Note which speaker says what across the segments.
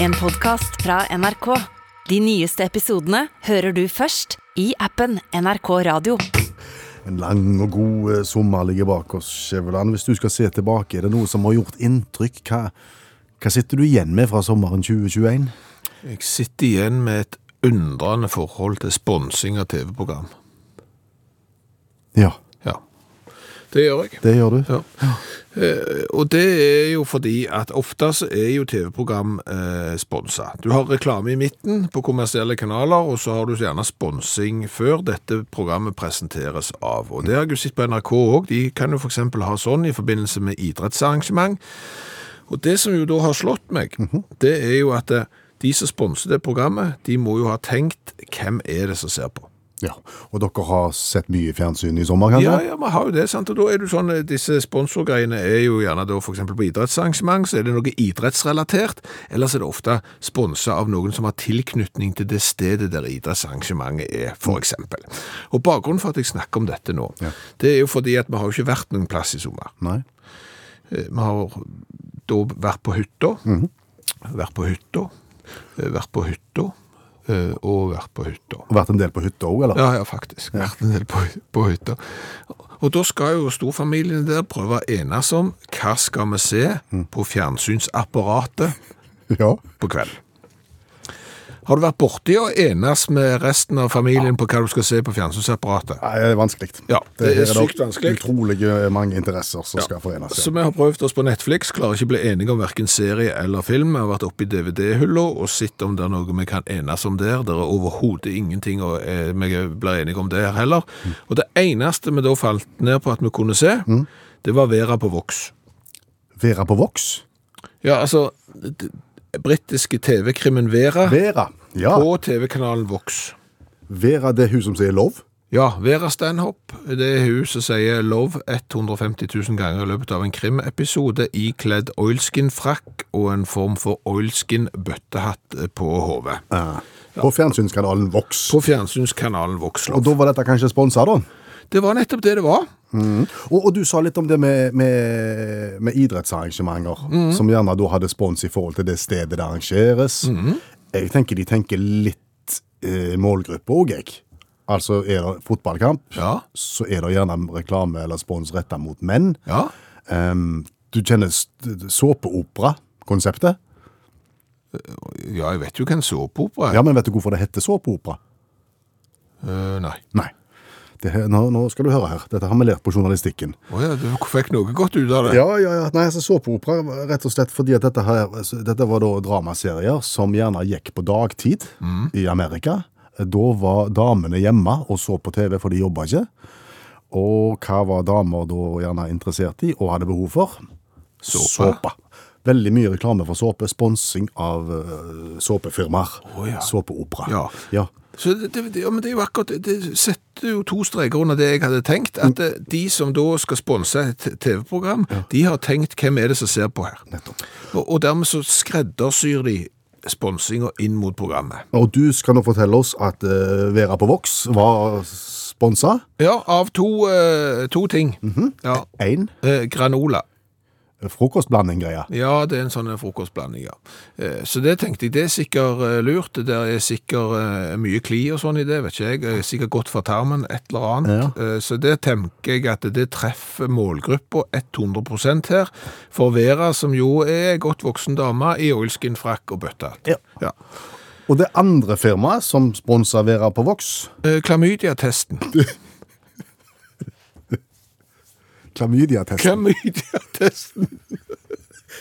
Speaker 1: En podcast fra NRK. De nyeste episodene hører du først i appen NRK Radio.
Speaker 2: En lang og god eh, sommer ligger bak oss, Skjæveland. Hvis du skal se tilbake, er det noe som har gjort inntrykk? Hva, hva sitter du igjen med fra sommeren 2021?
Speaker 3: Jeg sitter igjen med et undrende forhold til sponsing av TV-program.
Speaker 2: Ja,
Speaker 3: Ja, det gjør jeg.
Speaker 2: det gjør du.
Speaker 3: Ja. Eh, og det er jo fordi at ofte så er jo TV-program eh, sponsa. Du har reklame i midten på kommersielle kanaler, og så har du gjerne sponsing før dette programmet presenteres av. Og det har jeg jo sett på NRK òg. De kan jo f.eks. ha sånn i forbindelse med idrettsarrangement. Og det som jo da har slått meg, det er jo at eh, de som sponser det programmet, de må jo ha tenkt hvem er det som ser på.
Speaker 2: Ja. Og dere har sett mye fjernsyn i sommer,
Speaker 3: Ja,
Speaker 2: kanskje?
Speaker 3: ja, vi har jo det, sant? Og da er det jo sånn, eh, disse sponsorgreiene er jo gjerne da for eksempel på idrettsarrangement, så er det noe idrettsrelatert, ellers er det ofte sponset av noen som har tilknytning til det stedet der idrettsarrangementet er, for eksempel. Og bakgrunnen for at jeg snakker om dette nå,
Speaker 2: Ja.
Speaker 3: det er jo fordi at vi har jo ikke vært noen plass i sommer.
Speaker 2: Nei?
Speaker 3: Eh, Vi har da vært på hytta, vært på hytta, eh, vært på hytta, eh, og vært på hytta.
Speaker 2: Vært en del på hytta òg, eller?
Speaker 3: Ja, ja, faktisk. Vært en del på, på hytta. Og da skal jo storfamilien der prøve å enes om hva skal vi se på fjernsynsapparatet
Speaker 2: Ja.
Speaker 3: på kvelden. Har du vært borti å enes med resten av familien på hva du skal se på fjernsynsapparatet?
Speaker 2: Nei, det er vanskelig.
Speaker 3: Ja, det
Speaker 2: her
Speaker 3: er
Speaker 2: da
Speaker 3: sykt vanskelig.
Speaker 2: Utrolig mange interesser som skal forenes.
Speaker 3: Så vi har prøvd oss på Netflix, klarer ikke bli enige om hverken serie eller film. Vi har vært oppe i DVD-hylla og sett om det er noe vi kan enes om der. Det er overhodet ingenting og eh, vi blir enige om det her heller. Og det eneste vi da falt ned på at vi kunne se, det var Vera på Vox.
Speaker 2: Vera på Vox?
Speaker 3: Ja, altså, d- britiske TV-krimmen Vera
Speaker 2: Vera. Ja.
Speaker 3: på TV-kanalen Vox.
Speaker 2: Vera, det er hun som sier lov?
Speaker 3: Ja, Vera Stanhope, det er hun som sier love 150 000 ganger i løpet av en krimepisode, ikledd oilskin-frakk og en form for oilskin-bøttehatt på hodet.
Speaker 2: Ja. På fjernsynskanalen Vox.
Speaker 3: På fjernsynskanalen Voxlov.
Speaker 2: Og da var dette kanskje sponsa, da?
Speaker 3: Det var nettopp det det var.
Speaker 2: Og, og du sa litt om det med, med, med idrettsarrangementer, som gjerne da hadde spons i forhold til det stedet det arrangeres. Jeg tenker de tenker litt eh, målgruppe òg, jeg. Altså er det fotballkamp,
Speaker 3: Ja.
Speaker 2: så er det gjerne reklame eller spons retta mot menn.
Speaker 3: Ja.
Speaker 2: Em, du kjenner st- såpeopera-konseptet?
Speaker 3: Ja, jeg vet jo hva en såpeopera er.
Speaker 2: Ja, men vet du hvorfor det heter såpeopera?
Speaker 3: Eh, nei.
Speaker 2: Nei. Det, her- nå, nå skal du høre her. Dette har vi lært på journalistikken.
Speaker 3: Å ja, du fikk noe godt ut av det.
Speaker 2: Ja, ja, ja. Nei, altså såpeopera var rett og slett fordi at dette, her, altså, dette var da dramaserier som gjerne gikk på dagtid
Speaker 3: Mm.
Speaker 2: i Amerika. Da var damene hjemme og så på TV, for de jobba ikke. Og hva var damer da gjerne interessert i og hadde behov for?
Speaker 3: Såpe.
Speaker 2: Veldig mye reklame for såpe. Sponsing av eh, såpefirmaer.
Speaker 3: Å, ja.
Speaker 2: Såpeopera.
Speaker 3: Ja.
Speaker 2: ja.
Speaker 3: Så det, det, det- ja, men det er jo akkurat, det- det setter jo to streker under det jeg hadde tenkt, at eh, de som da skal sponse et TV-program, de har tenkt hvem er det som ser på her.
Speaker 2: Nettopp.
Speaker 3: Og, og dermed så skreddersyr de sponsinga inn mot programmet.
Speaker 2: Og du skal nå fortelle oss at eh, Vera på Vox var sponsa.
Speaker 3: Ja, av to, eh, to ting. ja.
Speaker 2: Én
Speaker 3: Eh, granola.
Speaker 2: frokostblanding-greie.
Speaker 3: Ja, det er en sånn frokostblanding, ja. Eh, Så det tenkte jeg, det er sikkert eh, lurt. Det der er sikkert eh, mye kli og sånn i det, vet ikke jeg. Eh, Sikkert godt for tarmen, et eller annet. Eh, Så det tenker jeg at det treffer målgruppa 100 her. For Vera, som jo er en godt voksen dame, i oilskin-frakk og bøttehatt.
Speaker 2: Ja.
Speaker 3: Ja.
Speaker 2: Og det andre firmaet som sponser Vera på Vox,
Speaker 3: Eh, Klamydia-testen.
Speaker 2: Klamydiatesten.
Speaker 3: Klamydia-testen!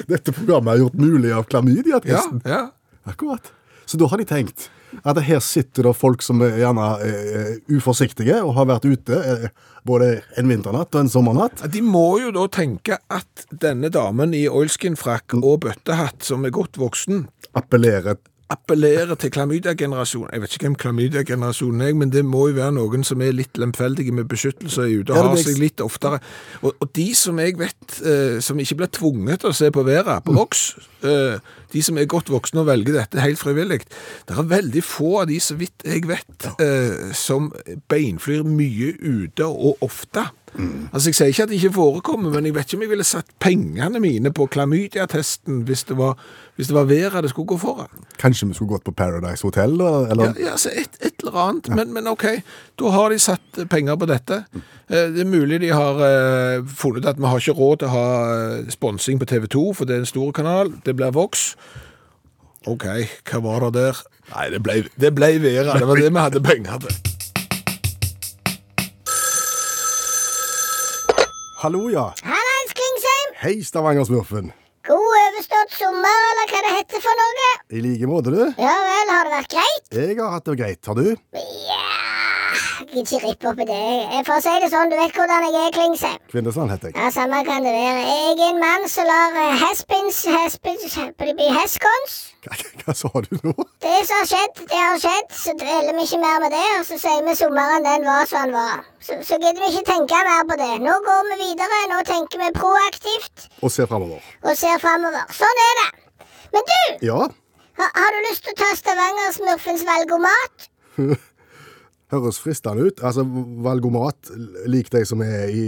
Speaker 2: Dette programmet er gjort mulig av
Speaker 3: Ja,
Speaker 2: klamydiatesten.
Speaker 3: ja.
Speaker 2: Akkurat. Så da har de tenkt at her sitter det folk som er gjerne eh, uforsiktige og har vært ute eh, både en vinternatt og en sommernatt.
Speaker 3: De må jo da tenke at denne damen i oilskin-frakk og bøttehatt, som er godt voksen,
Speaker 2: Appellerer
Speaker 3: appellere til klamydia-generasjonen. Jeg vet ikke hvem klamydia-generasjonen er, men det må jo være noen som er litt lemfeldige med beskyttelse og er ute
Speaker 2: Ja,
Speaker 3: og
Speaker 2: det
Speaker 3: har
Speaker 2: blir-
Speaker 3: seg litt oftere. Og, og de som jeg vet, eh, som ikke blir tvunget til å se på
Speaker 2: Mm.
Speaker 3: Vera på Vox, eh, de som er godt voksne og velger dette helt frivillig, det er veldig få av de, så vidt jeg vet, eh, som beinflyr mye ute og ofte.
Speaker 2: Mm.
Speaker 3: Altså, Jeg sier ikke at det ikke forekommer, men jeg vet ikke om jeg ville satt pengene mine på klamydia-testen hvis det var, hvis det var været det skulle gå foran.
Speaker 2: Kanskje vi skulle gått på Paradise Hotel? Eller, eller?
Speaker 3: Ja, ja altså et, et eller annet, men, men ok, da har de satt penger på dette. Eh, Det er mulig de har eh, funnet ut at vi har ikke råd til å ha eh, sponsing på TV 2, for det er en stor kanal, det blir Vox. Ok, hva var det der? Nei, det ble, det ble Vera, det var det vi hadde penger til.
Speaker 2: Hallo, ja.
Speaker 4: Hallais, Klingsheim!
Speaker 2: Hei, Stavangersmurfen.
Speaker 4: God overstått sommer, eller hva det heter for noe.
Speaker 2: I like måte, du.
Speaker 4: Ja vel, har det vært greit?
Speaker 2: Jeg har hatt det greit, har du?
Speaker 4: Jeg gidder ikke rippe opp i det. Jeg- For å si det sånn, du vet hvordan jeg er, Klingsheim.
Speaker 2: Kvinnesland heter jeg.
Speaker 4: Ja, Samme kan det være. Jeg er en mann som lar eh, hespins hespins bli heskons.
Speaker 2: Hva, hva sa du nå?
Speaker 4: Det som har skjedd, det har skjedd, så dveler vi ikke mer med det. Og så sier vi sommeren den var som den var. Så, så gidder vi ikke tenke mer på det. Nå går vi videre, nå tenker vi proaktivt
Speaker 2: Og se framover.
Speaker 4: og ser framover. Sånn er det. Men du!
Speaker 2: Ja,
Speaker 4: Har, har du lyst til å ta Stavanger-smurfens valgomat?
Speaker 2: høres fristende ut. Altså, Valgomat, lik de som er i,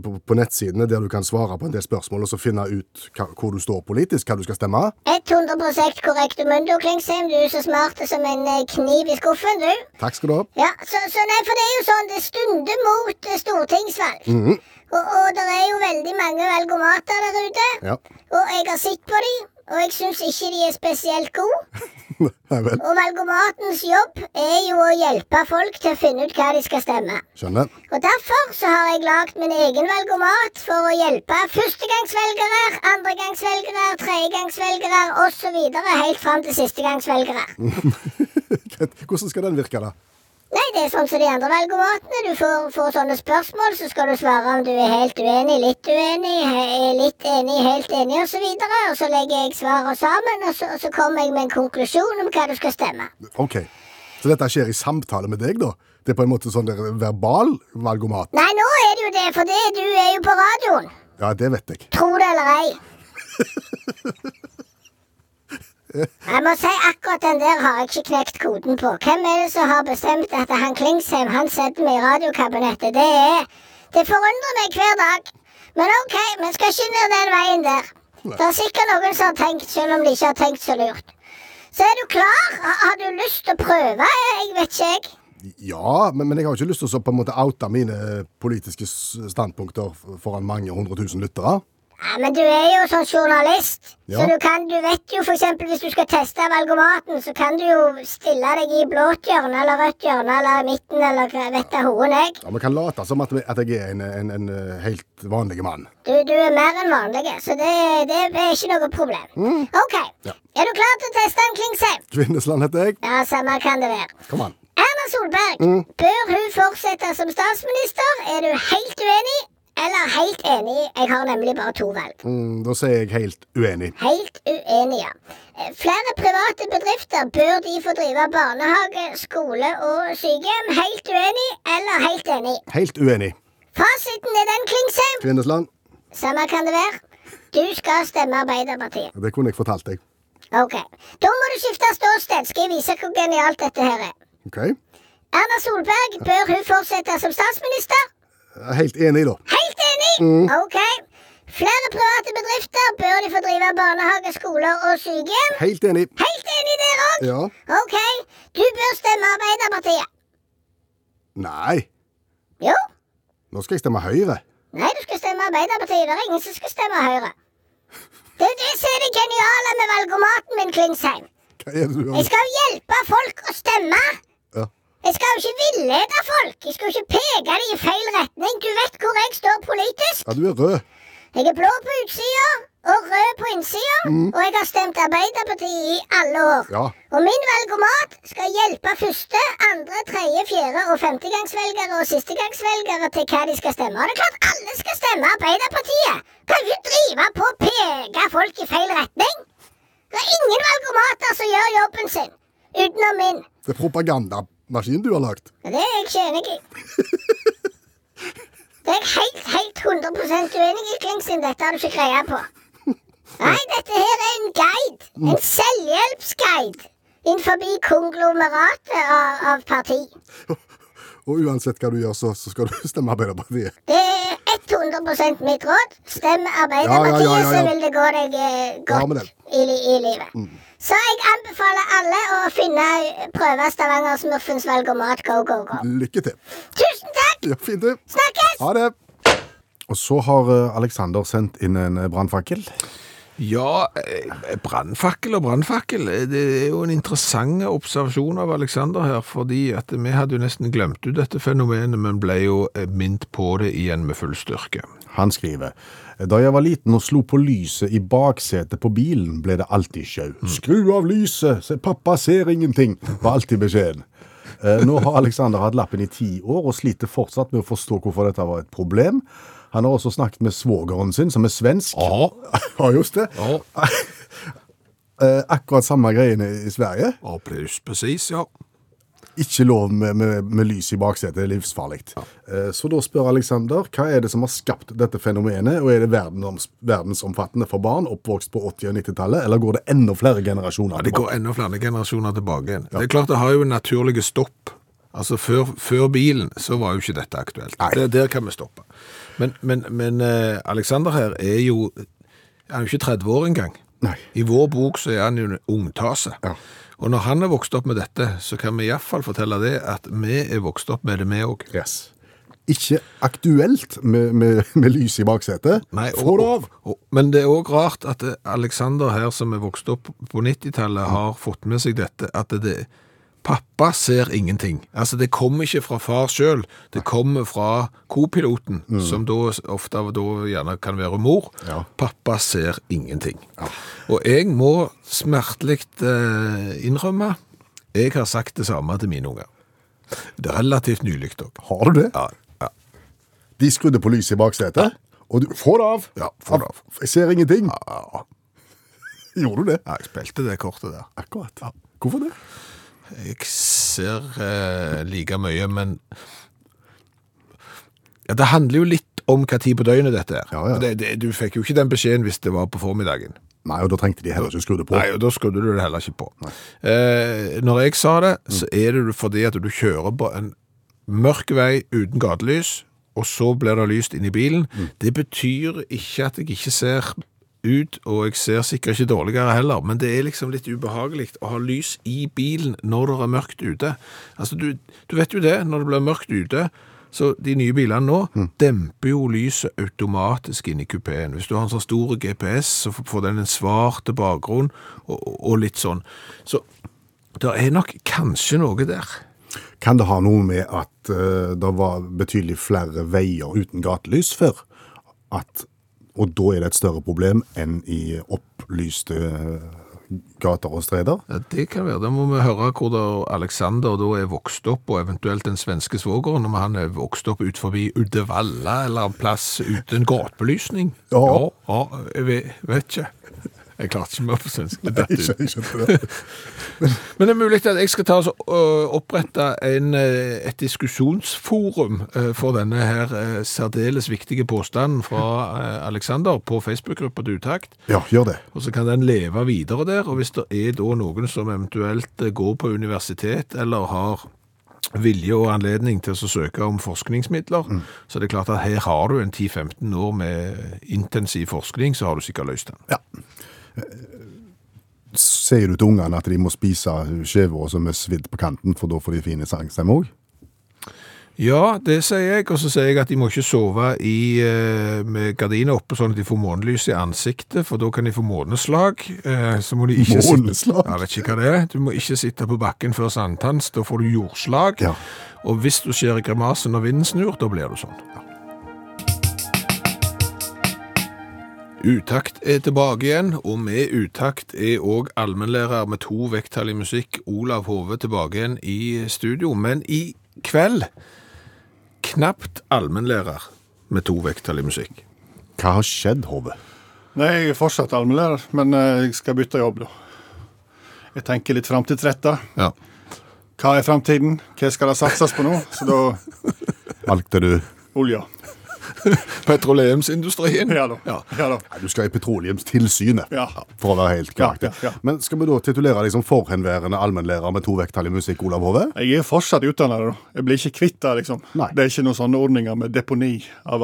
Speaker 2: på, på nettsidene, der du kan svare på en del spørsmål og så finne ut hva, hvor du står politisk, hva du skal stemme.
Speaker 4: 100 korrekt umundo, Klingsheim. Du er så smart som en eh, kniv i skuffen, du.
Speaker 2: Takk skal du ha.
Speaker 4: Ja, så, så nei, for det er jo sånn, det stunder mot eh, stortingsvalg. Og, og det er jo veldig mange valgomater der ute.
Speaker 2: Ja.
Speaker 4: Og jeg har sett på de, og jeg syns ikke de er spesielt gode.
Speaker 2: Nei vel.
Speaker 4: Og valgomatens jobb er jo å hjelpe folk til å finne ut hva de skal stemme.
Speaker 2: Skjønner.
Speaker 4: Og Derfor så har jeg lagd min egen valgomat for å hjelpe førstegangsvelgere, andregangsvelgere, tredjegangsvelgere osv. helt fram til sistegangsvelgere.
Speaker 2: Hvordan skal den virke, da?
Speaker 4: Nei, det er sånn som de andre valgomatene. Du får, får sånne spørsmål, så skal du svare om du er helt uenig, litt uenig, he er litt enig, helt enig osv. Og, så og så legger jeg svarene sammen, og så, og så kommer jeg med en konklusjon om hva du skal stemme.
Speaker 2: OK. Så dette skjer i samtale med deg, da? Det er på en måte sånn der verbal valgomat?
Speaker 4: Nei, nå er det jo det, for det, du er jo på radioen.
Speaker 2: Ja, det vet jeg.
Speaker 4: Tro det eller ei. Jeg må si akkurat den der har jeg ikke knekt koden på. Hvem er det som har bestemt at han Klingsheim han setter meg i radiokabinettet? Det er Det forundrer meg hver dag. Men OK, vi skal ikke ned den veien der. Det er sikkert noen som har tenkt, selv om de ikke har tenkt så lurt. Så er du klar? Har- Har du lyst til å prøve? Jeg vet ikke, jeg.
Speaker 2: Ja, men, men jeg har ikke lyst til å så på en måte oute mine politiske s- standpunkter f- foran mange hundre tusen lyttere.
Speaker 4: Ja, men du er jo sånn journalist,
Speaker 2: Ja.
Speaker 4: så du, kan, du vet jo for eksempel hvis du skal teste valgomaten, så kan du jo stille deg i blått hjørne eller rødt hjørne eller midten eller hva- vet da hoen jeg.
Speaker 2: Ja, Vi kan late som at, vi- at jeg er en, en, en eh, helt vanlig mann.
Speaker 4: Du, du er mer enn vanlig, så det, det er ikke noe problem. OK.
Speaker 2: Mm. Ja.
Speaker 4: Er du klar til å teste en Klingsheim?
Speaker 2: Kvinnesland heter jeg.
Speaker 4: Ja, samme kan det være.
Speaker 2: Kom an.
Speaker 4: Erna Solberg,
Speaker 2: Mm.
Speaker 4: bør hun fortsette som statsminister? Er du helt uenig eller helt enig? Jeg har nemlig bare to valg.
Speaker 2: Mm, da sier jeg helt uenig.
Speaker 4: helt uenige. Eh, Flere private bedrifter bør de få drive barnehage, skole og sykehjem. Helt uenig eller helt enig?
Speaker 2: Helt uenig.
Speaker 4: Fasiten er den, Klingsheim.
Speaker 2: Kvinnesland,
Speaker 4: Samme kan det være. Du skal stemme Arbeiderpartiet.
Speaker 2: det kunne jeg fortalt deg.
Speaker 4: Ok. Da må du skifte ståsted. Skal jeg vise hvor genialt dette her er.
Speaker 2: Ok? Eh,
Speaker 4: Erna Solberg, bør hun fortsette som statsminister?
Speaker 2: Helt enig, da.
Speaker 4: Helt enig! Ok. Flere private bedrifter bør de få drive barnehage, skoler og sykehjem.
Speaker 2: Helt enig.
Speaker 4: Helt enig der òg!
Speaker 2: Ja.
Speaker 4: Ok, du bør stemme Arbeiderpartiet.
Speaker 2: Nei,
Speaker 4: Jo.
Speaker 2: nå skal jeg stemme Høyre.
Speaker 4: Nei, du skal stemme Arbeiderpartiet. Det er ingen som skal stemme Høyre. Det er det som er det geniale med valgomaten min, Klingsheim.
Speaker 2: Hva er det du
Speaker 4: Jeg
Speaker 2: gjør?
Speaker 4: skal jo hjelpe folk å stemme.
Speaker 2: Ja.
Speaker 4: Jeg skal jo ikke villede folk. Jeg skal jo ikke peke dem i feil retning. Du vet hvor jeg står politisk.
Speaker 2: ja, du er rød.
Speaker 4: Jeg er blå på utsida og rød på innsida, og jeg har stemt Arbeiderpartiet i alle år.
Speaker 2: Ja.
Speaker 4: Og min valgomat skal hjelpe første, andre, tredje, fjerde og femtegangsvelgere og sistegangsvelgere til hva de skal stemme. Og det er klart alle skal stemme Arbeiderpartiet! Kan jo drive på å peke folk i feil retning! Det er ingen valgomater som gjør jobben sin utenom min.
Speaker 2: Det er propagandamaskinen du har lagd.
Speaker 4: Og det er jeg ikke enig i. Det er jeg helt, helt 100 uenig i, Klingsen. Dette har du ikke greie på. Nei, dette her er en guide. En selvhjelpsguide. Innenfor konglomeratet av, av parti.
Speaker 2: Og uansett hva du gjør, så, så skal du stemme Arbeiderpartiet.
Speaker 4: Det er 100 mitt råd. Stem Arbeiderpartiet,
Speaker 2: Ja, ja, ja, ja, ja.
Speaker 4: så vil det gå deg eh,
Speaker 2: Ja, med
Speaker 4: godt
Speaker 2: det. Mm.
Speaker 4: i, li i livet. Så jeg anbefaler alle å finne eh, prøve Stavangers muffins valgomat go, go, go.
Speaker 2: Lykke til.
Speaker 4: Tusen takk!
Speaker 2: Ja, fint, du.
Speaker 4: Snakkes!
Speaker 2: Mm. Ha det. Og så har eh, Alexander sendt inn en eh, brannfakkel.
Speaker 3: Ja, eh, brannfakkel og brannfakkel. eh, Det er jo en interessant observasjon av Alexander her, fordi at vi hadde jo nesten glemt ut dette fenomenet, men ble jo eh, minnet på det igjen med full styrke.
Speaker 2: Han skriver Da jeg var liten og slo på lyset i baksetet på bilen, ble det alltid sjau. Skru av lyset! Se, pappa ser ingenting! var alltid beskjeden. Eh, Nå har Alexander hatt lappen i ti år og sliter fortsatt med å forstå hvorfor dette var et problem. Han har også snakket med svogeren sin, som er svensk.
Speaker 3: Ja.
Speaker 2: Ja, just det.
Speaker 3: Ja.
Speaker 2: Eh, Akkurat samme greiene i Sverige.
Speaker 3: Applaus, presis, ja.
Speaker 2: Ikke lov med, med, med lys i baksetet, det er livsfarlig. Eh, Så da spør Alexander, hva er det som har skapt dette fenomenet, og er det verdenoms, verdensomfattende for barn oppvokst på 80- og 90-tallet, eller går det enda flere generasjoner?
Speaker 3: Ja, det går enda flere generasjoner tilbake igjen. Det er klart det har jo en naturlig stopp. Altså før, før bilen så var jo ikke dette aktuelt. Det, der kan vi stoppe. Men, men, men eh, Alexander her er jo, han er jo ikke 30 år engang.
Speaker 2: Nei.
Speaker 3: I vår bok så er han jo en ungtase. Og når han er vokst opp med dette, så kan vi i hvert fall fortelle det at vi er vokst opp med det vi også.
Speaker 2: Yes. Ikke aktuelt med, med, med lys i baksetet.
Speaker 3: Nei,
Speaker 2: Få
Speaker 3: og-
Speaker 2: det av!
Speaker 3: og- og- Men det er òg rart at eh, Alexander her, som er vokst opp på 90-tallet, har fått med seg dette at det Pappa ser ingenting. Altså, det kommer ikke fra far sjøl, det kommer fra kopiloten, som da s- ofte av- da gjerne kan være mor.
Speaker 2: Mm. Ja.
Speaker 3: Pappa ser ingenting. Og jeg må smertelig eh, innrømme, jeg har sagt det samme til mine unger. Det er relativt nylig òg.
Speaker 2: Har du det?
Speaker 3: Ja, ja.
Speaker 2: De skrudde på lyset i baksetet, og du Få det av!
Speaker 3: Ja, få det av.
Speaker 2: Jeg ser ingenting. Gjorde du det?
Speaker 3: ja, jeg spilte det kortet der.
Speaker 2: Akkurat. Hvorfor det?
Speaker 3: Jeg ser eh, like mye, men ja, Det handler jo litt om hva tid på døgnet dette er.
Speaker 2: Ja, ja.
Speaker 3: Det, det, du fikk jo ikke den beskjeden hvis det var på formiddagen.
Speaker 2: Nei, og da trengte de heller ikke skru det på.
Speaker 3: Nei, og Da skrudde du det heller ikke på. Eh, når jeg sa det,
Speaker 2: Mm.
Speaker 3: så er det fordi at du kjører på en mørk vei uten gatelys, og så blir det lyst inn i bilen. Det betyr ikke at jeg ikke ser ut, og jeg ser sikkert ikke dårligere heller, men det er liksom litt ubehagelig å ha lys i bilen når det er mørkt ute. Altså, du, du vet jo det, når det blir mørkt ute, så de nye bilene nå demper jo lyset automatisk inn i kupéen. Hvis du har en sånn stor GPS, så får den en svart bakgrunn, og, og litt sånn. Så det er nok kanskje noe der.
Speaker 2: Kan det ha noe med at eh, det var betydelig flere veier uten gatelys før? At, og da er det et større problem enn i opplyste eh, gater og streder?
Speaker 3: Ja, Det kan være. Da må vi høre hvordan Alexander da er vokst opp, og eventuelt den svenske svogeren, om han er vokst opp ut forbi Uddevalla eller en plass uten gatebelysning.
Speaker 2: Ja.
Speaker 3: ja. ja, Jeg vet, vet ikke. Jeg klarte ikke meg på svensk. Det datt ut.
Speaker 2: Ikke, ikke det.
Speaker 3: Men det er mulig at jeg skal ta og så, ø, opprette en, ø, et diskusjonsforum ø, for denne her ø, særdeles viktige påstanden fra ø, Alexander på Facebook-gruppa til utakt.
Speaker 2: Ja, gjør det.
Speaker 3: Og så kan den leve videre der, og hvis det er da noen som eventuelt eh, går på universitet eller har vilje og anledning til å søke om forskningsmidler, så er det klart at her har du en 10-15 år med intensiv forskning, så har du sikkert løst den.
Speaker 2: Eh, Sier du til ungene at de må spise skjever som er svidd på kanten, for da får de fine sangstemmer òg?
Speaker 3: Ja, det sier jeg, og så sier jeg at de må ikke sove i, eh, med gardiner oppe sånn at de får månelys i ansiktet, for da kan de få måneslag. Eh, Så må de ikke sitte-
Speaker 2: Måneslag?
Speaker 3: Ja, vet ikke hva det er. Du må ikke sitte på bakken før sankthans, da får du jordslag.
Speaker 2: Ja.
Speaker 3: Og hvis du ser grimasen når vinden snur, da blir du sånn. Utakt er tilbake igjen, og med utakt er òg allmennlærer med to vekttall i musikk, Olav Hove, tilbake igjen i studio. Men i kveld knapt allmennlærer med to vekttall i musikk.
Speaker 2: Hva har skjedd, Hove?
Speaker 5: Nei, jeg er fortsatt allmennlærer, men eh, jeg skal bytte jobb, da. Jeg tenker litt framtidsretta.
Speaker 3: Ja.
Speaker 5: Hva er framtiden? Hva skal det satses på nå? Så da
Speaker 2: Valgte du
Speaker 5: olja.
Speaker 3: Petroleumsindustrien.
Speaker 5: Ja da.
Speaker 3: Ja.
Speaker 5: Ja da.
Speaker 2: Du skal i Petroleumstilsynet,
Speaker 5: Ja.
Speaker 2: for å være helt korrekt.
Speaker 5: Ja, ja, ja.
Speaker 2: Men skal vi da titulere deg som forhenværende allmennlærer med to vekttall i musikk, Olav Hove?
Speaker 5: Jeg er fortsatt utdannet, da. Jeg blir ikke kvitt det, liksom.
Speaker 2: Nei.
Speaker 5: Det er ikke noen sånne ordninger med deponi av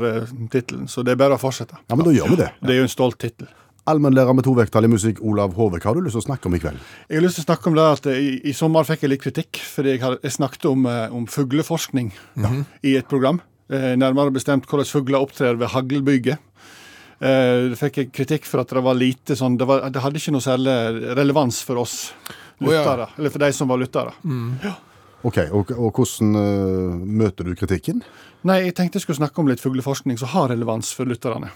Speaker 5: allmennlærertittelen, så det er bare å fortsette.
Speaker 2: Ja, men da gjør vi det.
Speaker 5: Det er jo en stolt tittel.
Speaker 2: Allmennlærer med to vekttall i musikk, Olav Hove, hva har du lyst til å snakke om i kveld?
Speaker 5: Jeg har lyst til å snakke om det at eh, i, i sommer fikk jeg litt kritikk, fordi jeg, hadde, jeg snakket om, eh, om fugleforskning
Speaker 3: Mhm.
Speaker 5: i et program. Eh, nærmere bestemt hvordan fugler opptrer ved haglbyger. Eh, det fikk jeg kritikk for at det var lite sånn Det, var, det hadde ikke noe særlig relevans for oss
Speaker 3: Å ja. Mm.
Speaker 5: lyttere. Eller for de som var lyttere.
Speaker 2: Ok, og, og hvordan eh, møter du kritikken?
Speaker 5: Nei, jeg tenkte jeg skulle snakke om litt fugleforskning som har relevans for lytterne.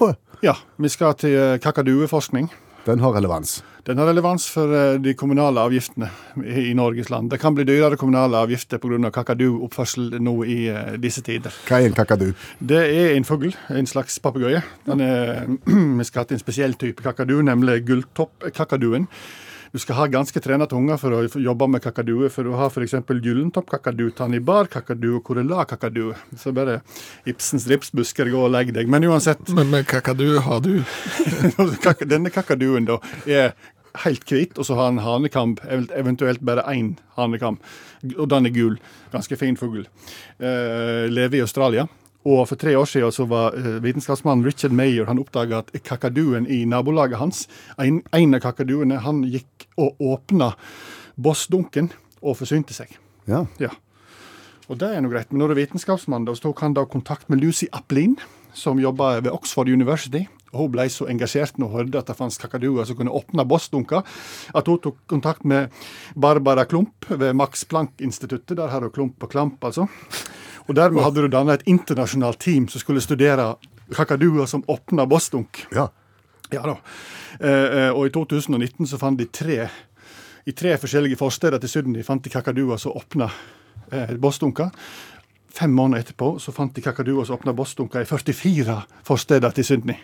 Speaker 2: Åh,
Speaker 5: Ja, vi skal til eh, kakadueforskning.
Speaker 2: Den har relevans.
Speaker 5: Den har relevans for eh, de kommunale avgiftene i i Norges land. Det kan bli dyrere kommunale avgifter pga. kakaduoppførsel nå i eh, disse tider.
Speaker 2: Hva er en kakadu?
Speaker 5: Det er en fugl, en slags papegøye. Den er- Vi skal ha til en spesiell type kakadu, nemlig gulltoppkakaduen. Du skal ha ganske trena tunge for å jobbe med kakaduer, for du har f.eks. gyllentopppkakadu, tannibarkakadu og korella-kakadu. Så bare Ibsens ripsbusker, gå og legg deg. Men uansett,
Speaker 3: Men, men kakadu har du.
Speaker 5: Kak- Denne kakaduen da er helt hvit, og så har han hanekam, ev- eventuelt bare én hanekam. G- Og den er gul. Ganske fin fugl. Eh, lever i Australia. Og for tre år siden så var eh, vitenskapsmannen Richard Mayer han oppdaga at kakaduen i nabolaget hans, en, en av kakaduene, han gikk og åpna bossdunken og forsynte seg.
Speaker 2: Ja.
Speaker 5: Ja. Og det er noe greit. Men når det er vitenskapsmann, da, så tok han da kontakt med Lucy Aplin, som jobber ved Oxford University. Og Hun ble så engasjert når hun hørte at det fantes kakaduer som kunne åpne bossdunker, at hun tok kontakt med Barbara Klump ved Max Planck-instituttet. Der har hun Klump og Klamp, altså. Og dermed hadde du dannet et internasjonalt team som skulle studere kakaduer som åpna bossdunk.
Speaker 2: ja.
Speaker 5: Ja da. Eh, eh, og i 2019 så fant de tre i tre forskjellige forsteder til Syden. De fant de kakaduer som åpna eh, bossdunker. Fem måneder etterpå så fant de kakaduer som åpna bossdunker i 44 forsteder til Sydney.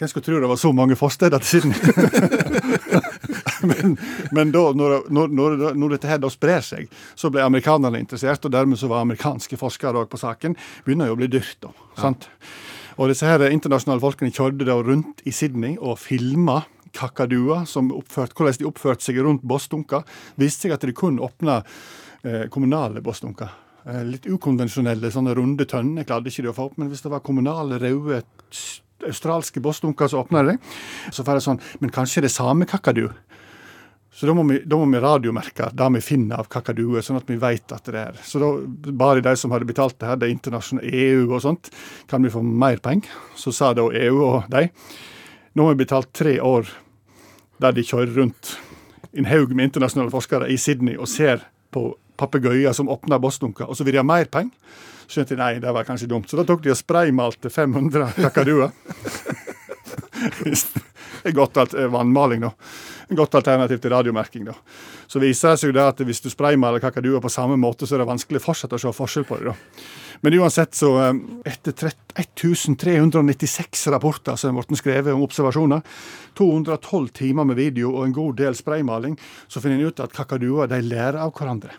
Speaker 5: Hvem skulle tro det var så mange forsteder til Sydney? men men da, når, når, når, når dette her da sprer seg, så ble amerikanerne interessert, og dermed så var amerikanske forskere også på saken. Begynner jo å bli dyrt, da. sant? Og disse her internasjonale folkene kjørte da rundt i Sydney og filma kakaduer, som oppført, hvordan de oppførte seg rundt bossdunker. viste seg at de kun åpna eh, kommunale bossdunker. Eh, litt ukonvensjonelle, sånne runde tønner klarte ikke de å få opp, men hvis det var kommunale, røde, s- australske bossdunker, så åpna de. Så var det sånn Men kanskje det er samme kakadu? Så da må, vi, da må vi radiomerke det vi finner av kakaduer, sånn at vi vet at det er. Så da bare de som hadde betalt det her, det internasjonale EU og sånt, kan vi få mer penger. Så sa da EU og de, nå har vi betalt tre år der de kjører rundt en haug med internasjonale forskere i Sydney og ser på papegøyer som åpner bossdunker, og så vil de ha mer penger. Så skjønte de nei, det var kanskje dumt. Så da tok de og spraymalte 500 kakaduer. Det er godt alt, eh, vannmaling, da. Et Godt alternativ til radiomerking, da. Så viser det seg jo det at hvis du spraymaler kakaduer på samme måte, så er det vanskelig fortsatt å se forskjell på det, da. Men uansett, så eh, etter trett- 1396 rapporter som er blitt skrevet om observasjoner, 212 timer med video og en god del spraymaling, så finner en ut at kakaduer de lærer av hverandre.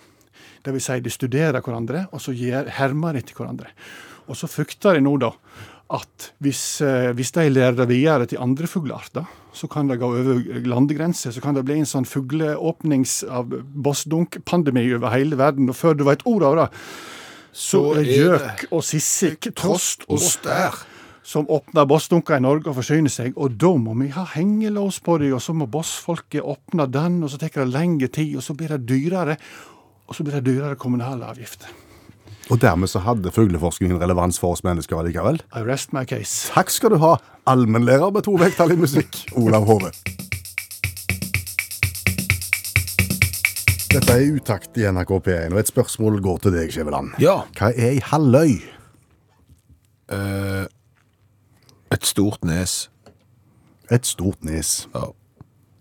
Speaker 5: Det vil si, de studerer hverandre, og så gjør, hermer etter hverandre. Og så frykter de nå da at hvis, eh, hvis de lærer det videre til andre fuglearter, så kan det gå over landegrenser, så kan det bli en sånn fugleåpnings av bossdunk-pandemi over hele verden. Og før du vet ordet av det, så
Speaker 3: Så er
Speaker 5: er
Speaker 3: det
Speaker 5: gjøk og sissik, trost og
Speaker 3: stær.
Speaker 5: som åpner bossdunker i Norge og forsyner seg, og da må vi ha hengelås på dem, og så må bossfolket åpne den, og så tar det lengre tid, og så blir det dyrere, og så blir det dyrere kommunale avgifter.
Speaker 2: Og dermed så hadde fugleforskningen relevans for oss mennesker allikevel.
Speaker 5: I rest my case.
Speaker 2: Takk skal du ha, allmennlærer med to vekttall i musikk, Olav Hove. Dette er utakt i NRK P1, og et spørsmål går til deg, Skjæveland.
Speaker 3: Ja.
Speaker 2: Hva er ei halvøy?
Speaker 3: Et stort nes.
Speaker 2: Et stort nes.
Speaker 3: Ja.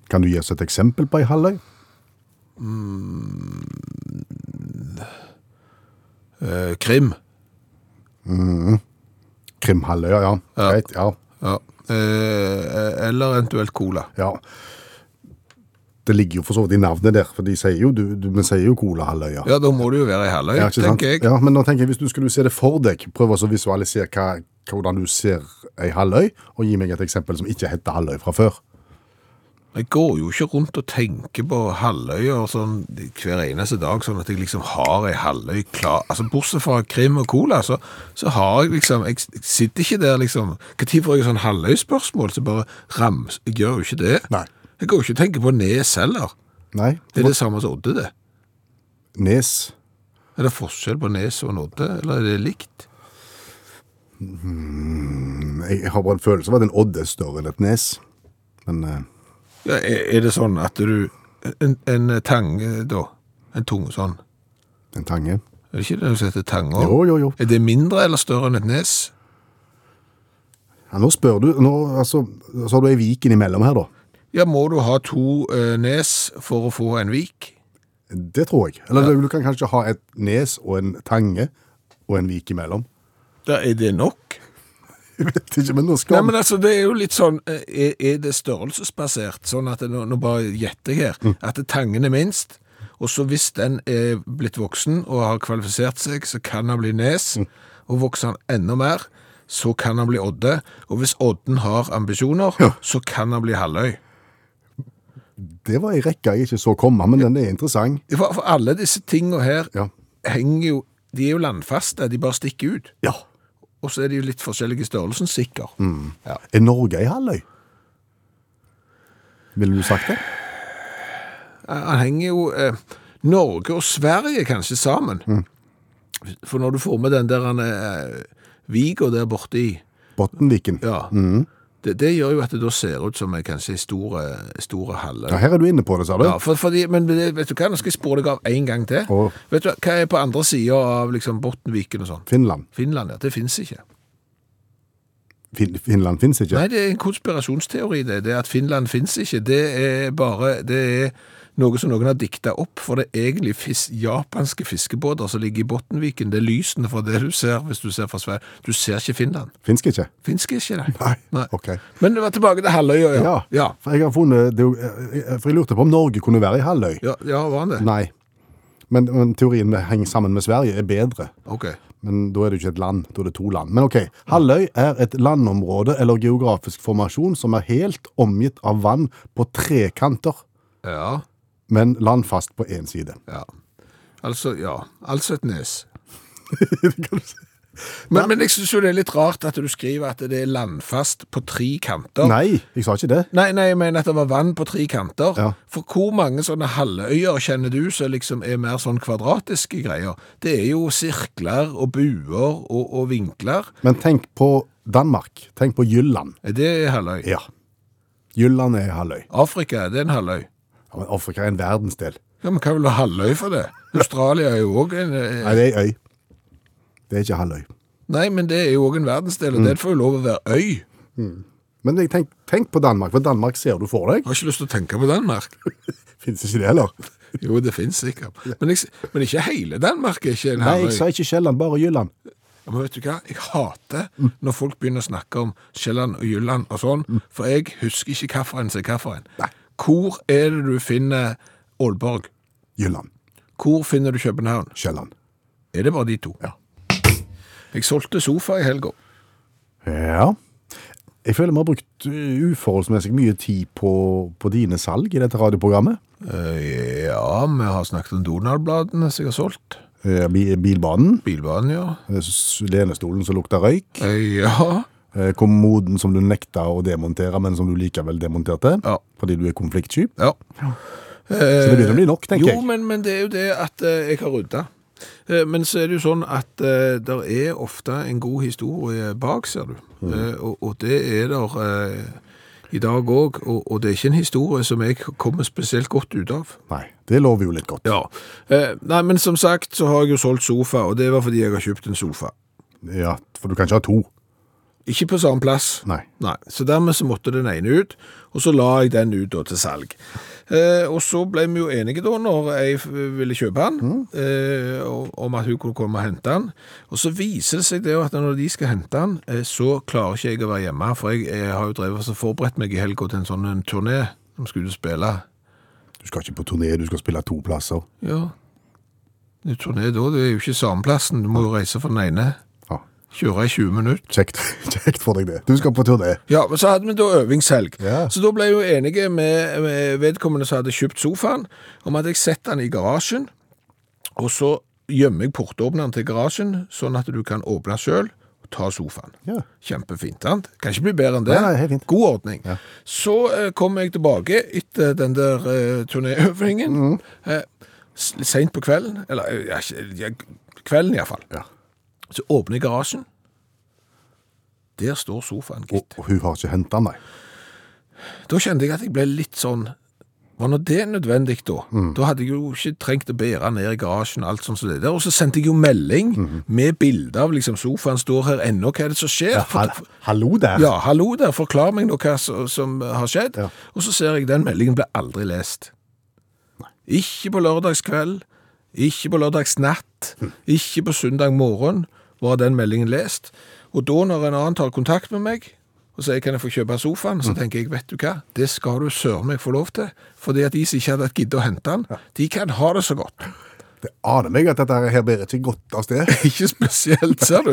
Speaker 2: Kan du gi oss et eksempel på ei halvøy?
Speaker 3: Eh, krim.
Speaker 2: Krimhalvøya, ja.
Speaker 3: Ja.
Speaker 2: Greit, ja.
Speaker 3: Ja. Eh, eller eventuelt cola.
Speaker 2: ja. Det ligger jo for så vidt i navnet der, for de sier jo, du, du, vi sier jo Colahalvøya.
Speaker 3: Ja, da må det jo være ei halvøy,
Speaker 2: Ja, ikke sant?
Speaker 3: tenker jeg.
Speaker 2: Ja, men nå tenker jeg, hvis du skulle se det for deg, prøv også å visualisere hva, hvordan du ser ei halvøy, og gi meg et eksempel som ikke heter halvøy fra før.
Speaker 3: Jeg går jo ikke rundt og tenker på halvøyer sånn hver eneste dag, sånn at jeg liksom har ei halvøy klar. Altså, Bortsett fra krim og cola, så, så har jeg liksom Jeg, jeg sitter ikke der liksom Når får jeg sånn halvøyspørsmål, så bare rams Jeg gjør jo ikke det.
Speaker 2: Nei.
Speaker 3: Jeg går jo ikke og tenker på nes heller.
Speaker 2: Nei.
Speaker 3: Det er det samme som odde, det.
Speaker 2: Nes.
Speaker 3: Er det forskjell på nes og en odde, eller er det likt?
Speaker 2: Jeg har bare en følelse av at en odde er større enn et nes. Men eh,
Speaker 3: Ja, er, er det sånn at du En, en tange, da? En tunge sånn?
Speaker 2: en tange
Speaker 3: Er det ikke det som heter tange?
Speaker 2: Jo, jo, jo.
Speaker 3: Er det mindre eller større enn et nes?
Speaker 2: Ja, nå spør du nå, altså, Så har du ei vik innimellom her, da.
Speaker 3: Ja, må du ha to eh, nes for å få en vik?
Speaker 2: Det tror jeg. Eller du kan kanskje ha et nes og en tange og en vik imellom.
Speaker 3: Da er det nok.
Speaker 2: Jeg vet ikke, men nå
Speaker 3: Nei,
Speaker 2: skal
Speaker 3: men altså, det er jo litt sånn, eh, er, er det størrelsesbasert? Sånn at, det- nå, nå bare gjetter jeg her,
Speaker 2: Mm.
Speaker 3: at tangen er minst, og så hvis den er blitt voksen og har kvalifisert seg, så kan han bli nes,
Speaker 2: Mm.
Speaker 3: og vokser han enda mer, så kan han bli odde, og hvis odden har ambisjoner,
Speaker 2: Ja.
Speaker 3: så kan han bli halvøy.
Speaker 2: Det var ei rekke jeg ikke så komme, men den er interessant.
Speaker 3: For, for alle disse tingene her
Speaker 2: Ja.
Speaker 3: henger jo, de er jo landfaste, de bare stikker ut.
Speaker 2: ja.
Speaker 3: Og så er de jo litt forskjellige i størrelsen, sikker.
Speaker 2: Mm.
Speaker 3: Ja.
Speaker 2: Er Norge ei halvøy? Ville du sagt det?
Speaker 3: Han henger jo eh, Norge og Sverige kanskje sammen. For når du får med den der han, eh, Viga der borte i
Speaker 2: Bottenviken. Ja.
Speaker 3: ja, det, det gjør jo at det da ser ut som en kanskje store, store halve.
Speaker 2: her er du inne på det, sa du.
Speaker 3: Ja, for, fordi, men det- vet du hva, nå skal jeg spore deg av en gang til.
Speaker 2: Åh.
Speaker 3: Vet du hva, Hva er på andre sida av liksom Bottenviken og sånn?
Speaker 2: Finland.
Speaker 3: Finland, ja. Det fins ikke.
Speaker 2: Fin Finland fins ikke.
Speaker 3: Nei, det er en konspirasjonsteori, det. Det at Finland fins ikke, det er bare det er noe som noen har dikta opp. For det er egentlig fis japanske fiskebåter som ligger i Bottenviken. Det er lysene fra det du ser hvis du ser fra Sverige. Du ser ikke Finland.
Speaker 2: Finsk ikke?
Speaker 3: Fins ikke det.
Speaker 2: Nei. Ok.
Speaker 3: Men det var tilbake til halvøya, ja.
Speaker 2: Ja.
Speaker 3: Ja.
Speaker 2: For jeg har funnet det, er jo- eh, For jeg lurte på om Norge kunne være ei halvøy.
Speaker 3: ja. ja, var han det?
Speaker 2: Nei. Men, men teorien med henge sammen med Sverige er bedre.
Speaker 3: Ok.
Speaker 2: Men da er det jo ikke et land, da er det to land. Men ok, Halvøy er et landområde eller geografisk formasjon som er helt omgitt av vann på tre kanter,
Speaker 3: Ja.
Speaker 2: men landfast på én side.
Speaker 3: ja. Altså, ja. Altså et nes.
Speaker 2: Det kan du si.
Speaker 3: Men, men jeg syns jo det er litt rart at du skriver at det er landfast på tre kanter.
Speaker 2: Nei, jeg sa ikke det.
Speaker 3: Nei, nei, jeg mener at det var vann på tre kanter.
Speaker 2: Ja.
Speaker 3: For hvor mange sånne halvøyer kjenner du som liksom er mer sånn kvadratiske greier? Det er jo sirkler og buer og, og vinkler.
Speaker 2: Men tenk på Danmark. Tenk på Jylland.
Speaker 3: Er Det er halvøy.
Speaker 2: Ja. Jylland er halvøy.
Speaker 3: Afrika, det er en halvøy.
Speaker 2: Ja, men Afrika er en verdensdel.
Speaker 3: Ja, men hva vil du ha halvøy for det? Australia er jo òg en eh,
Speaker 2: Nei, det er ei øy. Det er ikke halvøy.
Speaker 3: Nei, men det er jo òg en verdensdel,
Speaker 2: Mm.
Speaker 3: og det får jo lov å være øy.
Speaker 2: Men jeg tenk, tenk på Danmark, for Danmark ser du for deg.
Speaker 3: Jeg har ikke lyst til å tenke på Danmark.
Speaker 2: Fins ikke det heller?
Speaker 3: Jo, det fins sikkert. Men, jeg, s- men ikke hele Danmark er ikke en
Speaker 2: Nei,
Speaker 3: halvøy.
Speaker 2: jeg sa ikke Sjælland, bare Jylland.
Speaker 3: Ja, Men vet du hva? Jeg hater når folk begynner å snakke om Sjælland og Jylland og sånn, for jeg husker ikke hvilken som er hvilken. Hvor er det du finner Aalborg?
Speaker 2: Jylland.
Speaker 3: Hvor finner du København?
Speaker 2: Sjælland.
Speaker 3: Er det bare de to? Ja. Jeg solgte sofa i helga.
Speaker 2: Ja. Jeg føler vi har brukt uh, uforholdsmessig mye tid på, på dine salg i dette radioprogrammet.
Speaker 3: Eh, ja, vi har snakket om Donald-bladene som jeg har solgt.
Speaker 2: Eh, bi- Bilbanen,
Speaker 3: Bilbanen, ja.
Speaker 2: eh, s- lenestolen som lukter røyk,
Speaker 3: Eh, ja.
Speaker 2: eh, kommoden som du nekta å demontere, men som du likevel demonterte,
Speaker 3: Ja.
Speaker 2: fordi du er konfliktsky.
Speaker 3: ja. Eh,
Speaker 2: Så det begynner å bli nok, tenker
Speaker 3: Jo,
Speaker 2: jeg.
Speaker 3: men, men det er jo det at eh, jeg har rydda. Eh, Men så er det jo sånn at eh, der er ofte en god historie bak, ser du.
Speaker 2: Mm.
Speaker 3: Eh, og, og det er der eh, i dag òg. Og, og det er ikke en historie som jeg kommer spesielt godt ut av.
Speaker 2: Nei, det lover jo litt godt.
Speaker 3: Ja. Eh, nei, men som sagt så har jeg jo solgt sofa, og det var fordi jeg har kjøpt en sofa.
Speaker 2: Ja, for du kan ikke ha to.
Speaker 3: Ikke på samme plass.
Speaker 2: Nei.
Speaker 3: Nei, så dermed så måtte den ene ut, og så la jeg den ut da til salg. Eh, og så ble vi jo enige da, når jeg f- ville kjøpe den, eh, og- om at hun kunne komme og hente den. Og så viser det seg det jo at når de skal hente den, eh, så klarer ikke jeg å være hjemme, for jeg, eh, har jo drevet og forberedt meg i helga til en sånn en turné som skulle spille.
Speaker 2: Du Du skal ikke på turné, du skal spille to plasser.
Speaker 3: Ja. Det er turné da, det er jo ikke samme plassen. Du må jo reise fra den ene.
Speaker 2: Ja,
Speaker 3: Kjøre i 20 minutter.
Speaker 2: kjekt. kjekt for deg det. Du skal på turné.
Speaker 3: Ja, men så hadde vi da øvingshelg.
Speaker 2: Ja.
Speaker 3: Så da ble jeg jo enige med, med vedkommende som hadde kjøpt sofaen, om at jeg setter den i garasjen, og så gjemmer jeg portåpneren til garasjen, sånn at du kan åpne selv og ta sofaen.
Speaker 2: Ja.
Speaker 3: Kjempefint, sant? Kan ikke bli bedre enn det.
Speaker 2: Nei, nei, helt fint.
Speaker 3: God ordning. Så eh, kom jeg tilbake etter den der eh, turnéøvringen,
Speaker 2: Mhm.
Speaker 3: eh, s- litt sent på kvelden, eller eh, ja, ikke- ja, kvelden i hvert fall.
Speaker 2: Ja.
Speaker 3: Så åpner jeg garasjen. Der står sofaen, gitt.
Speaker 2: Og, og hun har ikke henta den, nei.
Speaker 3: Da kjente jeg at jeg ble litt sånn Var nå det nødvendig, da? Da hadde jeg jo ikke trengt å bære ned i garasjen og alt sånt som det der. Og så sendte jeg jo melding med bilde av liksom sofaen står her ennå, hva er det som skjer?
Speaker 2: Hall- hallo der.
Speaker 3: ja, hallo der, forklar meg nå hva som, som har skjedd.
Speaker 2: Ja.
Speaker 3: Og så ser jeg den meldingen ble aldri lest. Ikke på lørdagskveld, ikke på lørdagsnatt, ikke på søndag morgen var den meldingen lest. Og da når en annen tar kontakt med meg og sier kan jeg få kjøpe sofaen, så tenker jeg vet du hva, det skal du søren meg få lov til. Fordi at de som ikke hadde hatt giddet å hente den, de kan ha det så godt.
Speaker 2: Det aner meg at dette her bærer ikke godt av sted.
Speaker 3: Ikke spesielt, ser du.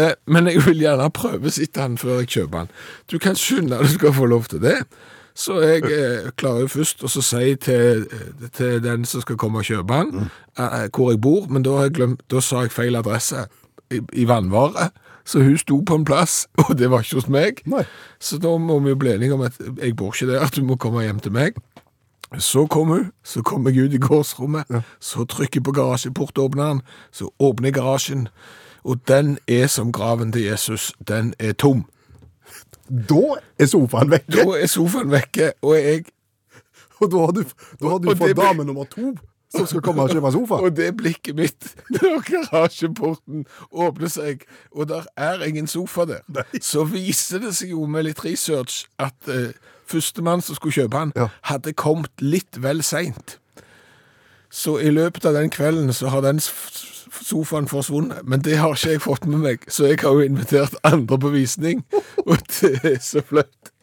Speaker 3: Eh, Men jeg vil gjerne prøvesitte den før jeg kjøper den. Du kan skynde deg, du skal få lov til det. Så jeg eh, klarer jo først å så si til, eh, til den som skal komme og kjøpe den, eh, hvor jeg bor, men da, har jeg glemt, da sa jeg feil adresse i, i vannvare. Så hun sto på en plass, og det var ikke hos meg.
Speaker 2: Nei.
Speaker 3: Så da må vi jo bli enige om at jeg bor ikke der, at du må komme hjem til meg. Så kom hun, så kom jeg ut i gårdsrommet, så trykker jeg på garasjeportåpneren, så åpner jeg garasjen, og den er som graven til Jesus, den er tom.
Speaker 2: Da er sofaen
Speaker 3: Da
Speaker 2: vekke,
Speaker 3: er sofaen vekke, og jeg
Speaker 2: og da har du, da har du
Speaker 3: Og det
Speaker 2: fått
Speaker 3: blir-
Speaker 2: dame nummer to som skal komme og kjøpe sofa.
Speaker 3: Og det blikket mitt når garasjeporten åpner seg, og der er ingen sofa der, så viser det seg jo med litt research at eh, førstemann som skulle kjøpe han,
Speaker 2: Ja.
Speaker 3: hadde kommet litt vel seint. Så i løpet av den kvelden så har den s- s- sofaen forsvunnet, men det har ikke jeg fått med meg, så jeg har jo invitert andre på visning, og det er så flaut.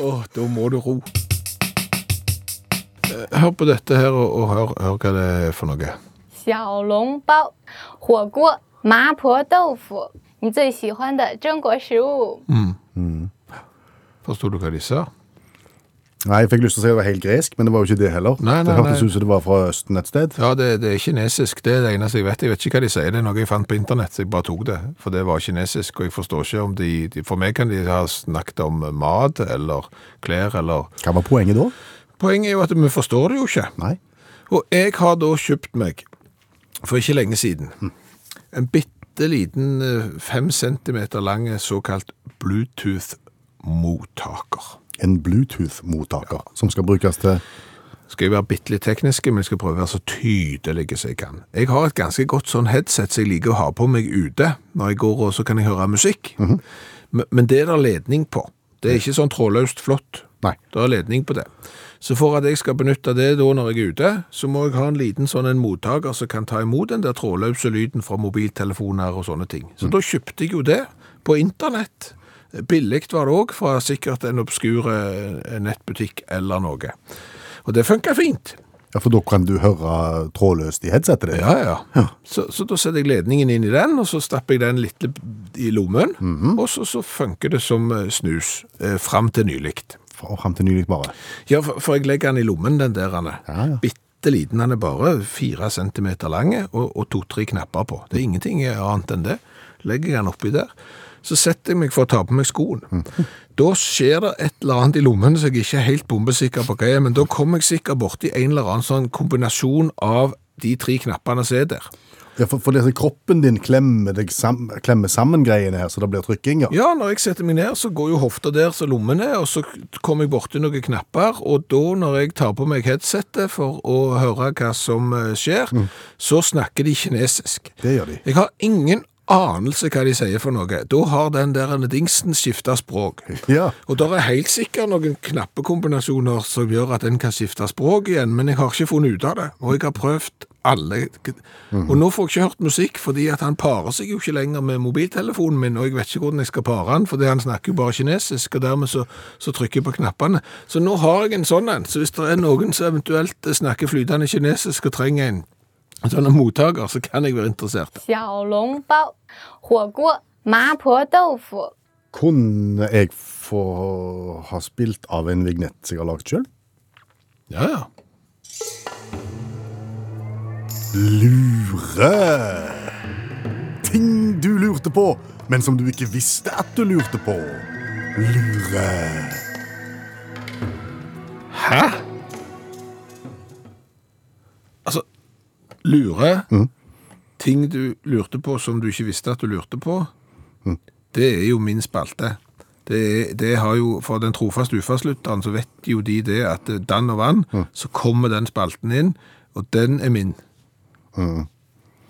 Speaker 3: Åh, da må du ro. Hør på dette her, og, og hør, hør hva det er for noe.
Speaker 6: 小笼包、火锅、麻婆豆腐，你最喜欢的中国食物。
Speaker 3: Forstod du hva de sa?
Speaker 2: Nei, jeg fikk lyst til å si det var helt gresk, men det var jo ikke det heller.
Speaker 3: Nei, nei,
Speaker 2: det hørtes
Speaker 3: nei.
Speaker 2: ut som det var fra Østen et sted.
Speaker 3: Ja, det, det er kinesisk. Det er det eneste jeg vet. Jeg vet ikke hva de sier. Det er noe jeg fant på internett, så jeg bare tok det. For det var kinesisk, og jeg forstår ikke om de, de For meg kan de ha snakket om mat eller klær eller
Speaker 2: Hva var poenget da?
Speaker 3: Poenget er jo at vi forstår det jo ikke.
Speaker 2: Nei.
Speaker 3: Og jeg har da kjøpt meg, for ikke lenge siden, en bitte liten eh, fem centimeter lang såkalt Bluetooth-mottaker.
Speaker 2: En Bluetooth-mottaker som skal brukes til
Speaker 3: skal jeg være bitte litt teknisk, men jeg skal prøve å være så tydelig som jeg kan. Jeg har et ganske godt sånn headset som jeg liker å ha på meg ute når jeg går, og så kan jeg høre musikk. men, men det er der ledning på. Det er ikke sånn trådløst flott.
Speaker 2: Nei.
Speaker 3: Det er ledning på det. Så for at jeg skal benytte det da når jeg er ute, så må jeg ha en liten sånn en mottaker som kan ta imot den der trådløse lyden fra mobiltelefoner og sånne ting. Så da kjøpte jeg jo det på internett. Billigt var det også, fra sikkert en obskure nettbutikk eller noe. Og det funker fint.
Speaker 2: Ja, for da kan du høre trådløst i headsetet ditt.
Speaker 3: Ja, ja. Så, så da setter jeg ledningen inn i den, og så stapper jeg den litt i lommen, og så, så funker det som eh, snus eh, fram til nylikt.
Speaker 2: Og frem til nylig bare.
Speaker 3: Ja, for, for jeg legger den i lommen, den der. Anne.
Speaker 2: Ja, ja.
Speaker 3: Bitte liten, den er bare fire centimeter lang og, og to-tre knapper på. Det er ingenting annet enn det. Legger jeg den oppi der, så setter jeg meg for å ta på meg skoen. Da skjer det et eller annet i lommen som jeg ikke er helt bombesikker på hva er, men da kommer jeg sikkert borti en eller annen sånn kombinasjon av de tre knappene som er der.
Speaker 2: Ja, for, for det er så kroppen din klemmer, deg sam, klemmer sammen greiene her, så det blir trykking, ja.
Speaker 3: Ja, når jeg setter meg ned, så går jo hofta der så lommen er, og så kommer jeg borti noen knapper, og da når jeg tar på meg headsetet for å høre hva som eh, skjer, så snakker de kinesisk.
Speaker 2: Mm. Det gjør de.
Speaker 3: Jeg har ingen anelse hva de sier for noe. Da har den der dingsen skifta språk.
Speaker 2: Ja.
Speaker 3: Og der er helt sikkert noen knappekombinasjoner som gjør at den kan skifte språk igjen, men jeg har ikke funnet ut av det. Og jeg har prøvd alle Og nå får jeg ikke hørt musikk, fordi at han parer seg jo ikke lenger med mobiltelefonen min, og jeg vet ikke hvordan jeg skal pare han, fordi han snakker jo bare kinesisk, og dermed så, så trykker jeg på knappene. Så nå har jeg en sånn en, så hvis det er noen som eventuelt snakker flytende kinesisk og trenger en sånn en mottaker, så kan jeg være interessert.
Speaker 6: 小笼包、火锅、麻婆豆腐、
Speaker 2: Kunne jeg få ha spilt av en vignett som jeg har lagd sjøl?
Speaker 3: Ja, ja.
Speaker 2: Lure! Ting du lurte på, men som du ikke visste at du lurte på. Lure.
Speaker 3: Hæ? Altså, lure Ting du lurte på som du ikke visste at du lurte på, det er jo min spalte. Det, er- det har jo, For den trofaste UFA-slutteren så vet jo de det at eh, dann og vann, så kommer den spalten inn, og den er min.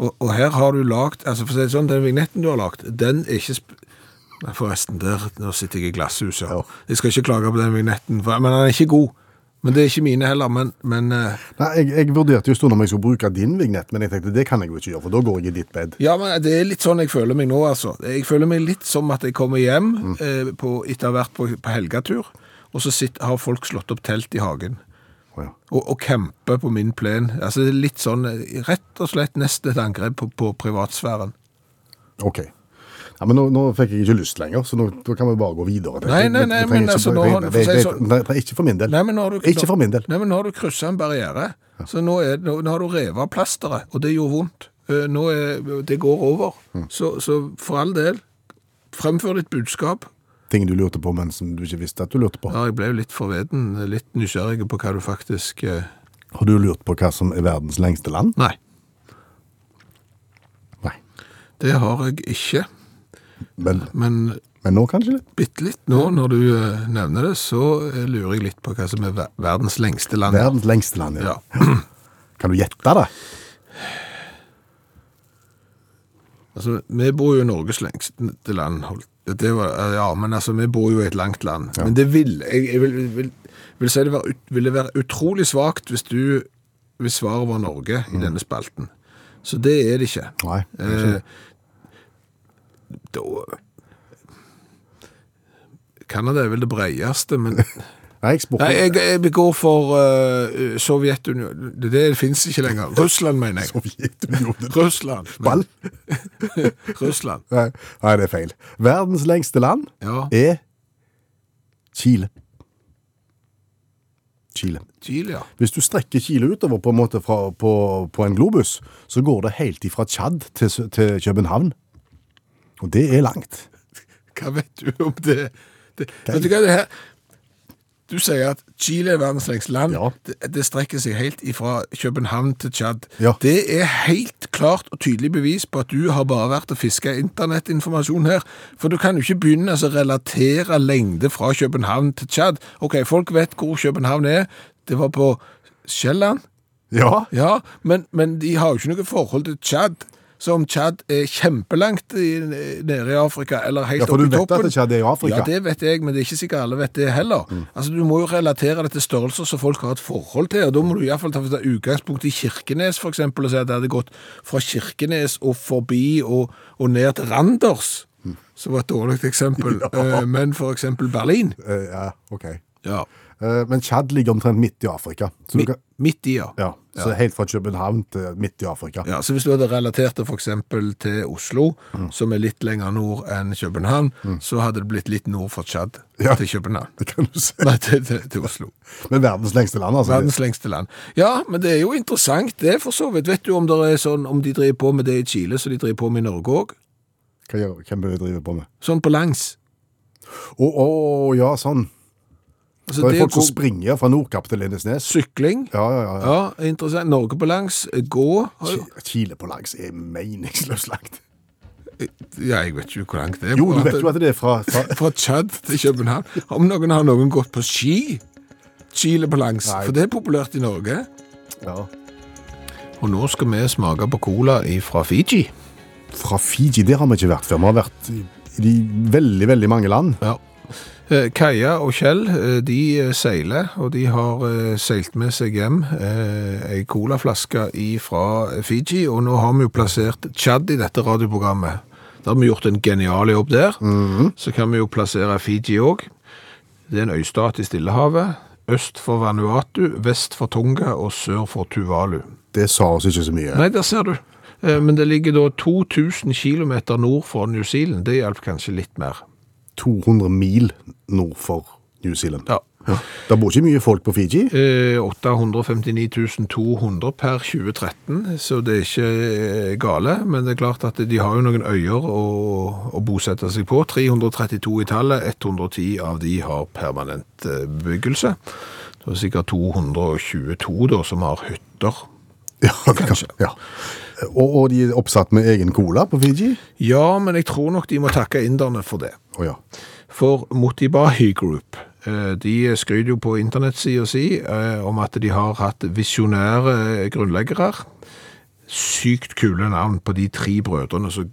Speaker 3: Og, og her har du lagt, altså for å si det sånn, den vignetten du har lagt, den er ikke sp Nei, forresten, der, nå sitter jeg i glasshuset. Jeg skal ikke klage på den vignetten, for, men den er ikke god. Men det er ikke mine heller, men, men eh,
Speaker 2: Nei, jeg, jeg vurderte jo stund om jeg skulle bruke din vignett, men jeg tenkte det kan jeg jo ikke gjøre, for da går jeg i ditt bed.
Speaker 3: Ja, men det er litt sånn jeg føler meg nå, altså. Jeg føler meg litt som at jeg kommer hjem
Speaker 2: Mm.
Speaker 3: eh, på, etter å ha vært på, på helgatur, og så sitt, har folk slått opp telt i hagen.
Speaker 2: Å, ja.
Speaker 3: Og, og camper på min plen. Altså, det er litt sånn, eh, rett og slett nesten et angrep på, på privatsfæren.
Speaker 2: Ok. Ja, men nå, nå fikk jeg ikke lyst lenger, så nå da kan vi bare gå videre.
Speaker 3: Nei, nei, nei,
Speaker 2: Jeg trenger
Speaker 3: men
Speaker 2: ikke-
Speaker 3: altså, nå har-
Speaker 2: jeg-
Speaker 3: for å si
Speaker 2: jeg-
Speaker 3: sånn-
Speaker 2: Nei, nei, ikke for min del.
Speaker 3: Nei, men nå har du,
Speaker 2: Ikke for min del.
Speaker 3: Nei, men nå har du krysset en barriere. Så nå, er, nå, nå har du revet av plasteret, og det gjorde vondt. Eh, Nå er, det går over.
Speaker 2: Mm.
Speaker 3: Så, så for all del, fremfør ditt budskap,
Speaker 2: Ting du lurte på, men som du ikke visste at du lurte på.
Speaker 3: Ja, jeg ble jo litt forveden, litt nysgjerrig på hva du faktisk eh,
Speaker 2: Har du lurt på hva som er verdens lengste land?
Speaker 3: Nei,
Speaker 2: Nei.
Speaker 3: det har jeg ikke.
Speaker 2: Men,
Speaker 3: Men
Speaker 2: men nå kanskje litt?
Speaker 3: bitte litt nå, når du eh, nevner det, så eh, lurer jeg litt på hva som er ver- verdens lengste land.
Speaker 2: Verdens lengste land, ja.
Speaker 3: Ja.
Speaker 2: Kan du gjette det?
Speaker 3: Altså, vi bor jo i Norges lengste land. holdt- Det var, eh, ja, men altså, vi bor jo i et langt land. Men det vil Jeg, jeg vil, vil, vil si det var, ut- ville være utrolig svakt hvis du Hvis svaret var Norge i denne spalten. Så det er det ikke.
Speaker 2: Nei.
Speaker 3: Eh, da Canada er vel det breieste, men
Speaker 2: Nei, jeg spurte
Speaker 3: Nei, jeg, jeg går for eh, Sovjetunionen. Det, det fins ikke lenger. Russland, mener jeg.
Speaker 2: Sovjetunionen.
Speaker 3: Russland.
Speaker 2: Ball?
Speaker 3: Russland.
Speaker 2: Nei, nei, det er feil. Verdens lengste land
Speaker 3: Ja.
Speaker 2: er Chile. Chile.
Speaker 3: Chile, ja.
Speaker 2: Hvis du strekker Chile utover på en måte fra, på, på en globus, så går det helt ifra Tjad til, Sø- til København. Og det er langt.
Speaker 3: Hva vet du om det? det vet du hva det her Du sier at Chile er verdens lengste land.
Speaker 2: Ja.
Speaker 3: Det, det strekker seg helt ifra København til Tsjad.
Speaker 2: Ja.
Speaker 3: Det er helt klart og tydelig bevis på at du har bare vært og fiska internettinformasjon her. For du kan jo ikke begynne altså, å relatere lengde fra København til Tsjad. OK, folk vet hvor København er. Det var på Sjælland.
Speaker 2: Ja.
Speaker 3: Ja, men, men de har jo ikke noe forhold til Tsjad. Så om Tsjad er kjempelangt i, nede i Afrika, eller helt
Speaker 2: Ja, for
Speaker 3: oppe
Speaker 2: du
Speaker 3: i
Speaker 2: vet
Speaker 3: toppen
Speaker 2: at Tsjad er i Afrika. Mm.
Speaker 3: Ja, det vet jeg, men det er ikke sikkert alle vet det heller. Altså, Du må jo relatere det til størrelser som folk har et forhold til, og da må du iallfall ta ta utgangspunkt i Kirkenes, for eksempel, og si at det hadde gått fra Kirkenes og forbi og, og ned til Randers,
Speaker 2: Mm.
Speaker 3: som var et dårlig eksempel, Eh, men for eksempel Berlin.
Speaker 2: Eh, ja, ok.
Speaker 3: Ja.
Speaker 2: Eh, men Tjad ligger omtrent midt i Afrika. Så, du
Speaker 3: Mi-
Speaker 2: kan,
Speaker 3: Midt i, ja.
Speaker 2: ja, så helt fra København til midt i Afrika.
Speaker 3: Ja, så Hvis du hadde relatert det f.eks. til Oslo, som er litt lenger nord enn København, så hadde det blitt litt nord for Tsjad
Speaker 2: Ja.
Speaker 3: til København.
Speaker 2: Det kan du se.
Speaker 3: Nei, til, til, til Oslo.
Speaker 2: Men verdens lengste land, altså.
Speaker 3: Verdens lengste land. Ja, men det er jo interessant, det, for så vidt. Vet du om, det er sånn, om de driver på med det i Chile, så de driver på med i Norge òg?
Speaker 2: Hva gjør, hvem bør vi drive på med?
Speaker 3: Sånn på langs.
Speaker 2: Å, å, ja, sånn.
Speaker 3: Altså,
Speaker 2: det er folk som
Speaker 3: hvor-
Speaker 2: springer fra Nordkapp til Lindesnes.
Speaker 3: Sykling.
Speaker 2: Ja, ja, ja. ja.
Speaker 3: Ja, interessant. Norge på langs. Gå.
Speaker 2: Ki- Kile på langs er meningsløst langt.
Speaker 3: Ja, jeg vet jo hvor langt det er.
Speaker 2: Jo, du vet jo at det er fra, fra
Speaker 3: Fra Tsjad til København. Om noen har noen gått på ski? Chile på langs.
Speaker 2: Nei.
Speaker 3: For det er populært i Norge.
Speaker 2: ja.
Speaker 3: Og nå skal vi smake på cola fra Fiji.
Speaker 2: Fra Fiji, der har vi ikke vært før. Vi har vært i i de veldig, veldig mange land.
Speaker 3: Ja. Eh, Kaja og Kjell eh, de eh, seiler, og de har eh, seilt med seg hjem eh, ei colaflaske fra Fiji. Og nå har vi jo plassert Tsjad i dette radioprogrammet. Da har vi gjort en genial jobb der. Så kan vi jo plassere Fiji òg. Det er en øystat i Stillehavet. Øst for Vanuatu, vest for Tonga og sør for Tuvalu.
Speaker 2: Det sa oss ikke så mye.
Speaker 3: Nei, der ser du. Eh, Men det ligger da 2000 km nord for New Zealand. Det hjelper kanskje litt mer.
Speaker 2: 200 mil nord for New Zealand.
Speaker 3: Ja.
Speaker 2: Det bor ikke mye folk på Fiji.
Speaker 3: Eh, 859 200 per 2013, så det er ikke eh, gale. Men det er klart at de har jo noen øyer å, å bosette seg på. 332 i tallet, 110 av de har permanent eh, bebyggelse. Det er sikkert 222 da som har hytter.
Speaker 2: Ja, det kan, ja. Og, og de er oppsatt med egen cola på Fiji.
Speaker 3: Ja, men jeg tror nok de må takke inderne for det.
Speaker 2: Å ja.
Speaker 3: For Motibahi Group eh, de skryter jo på internettsida si eh, om at de har hatt visjonære eh, grunnleggere. Sykt kule navn på de tre brødrene som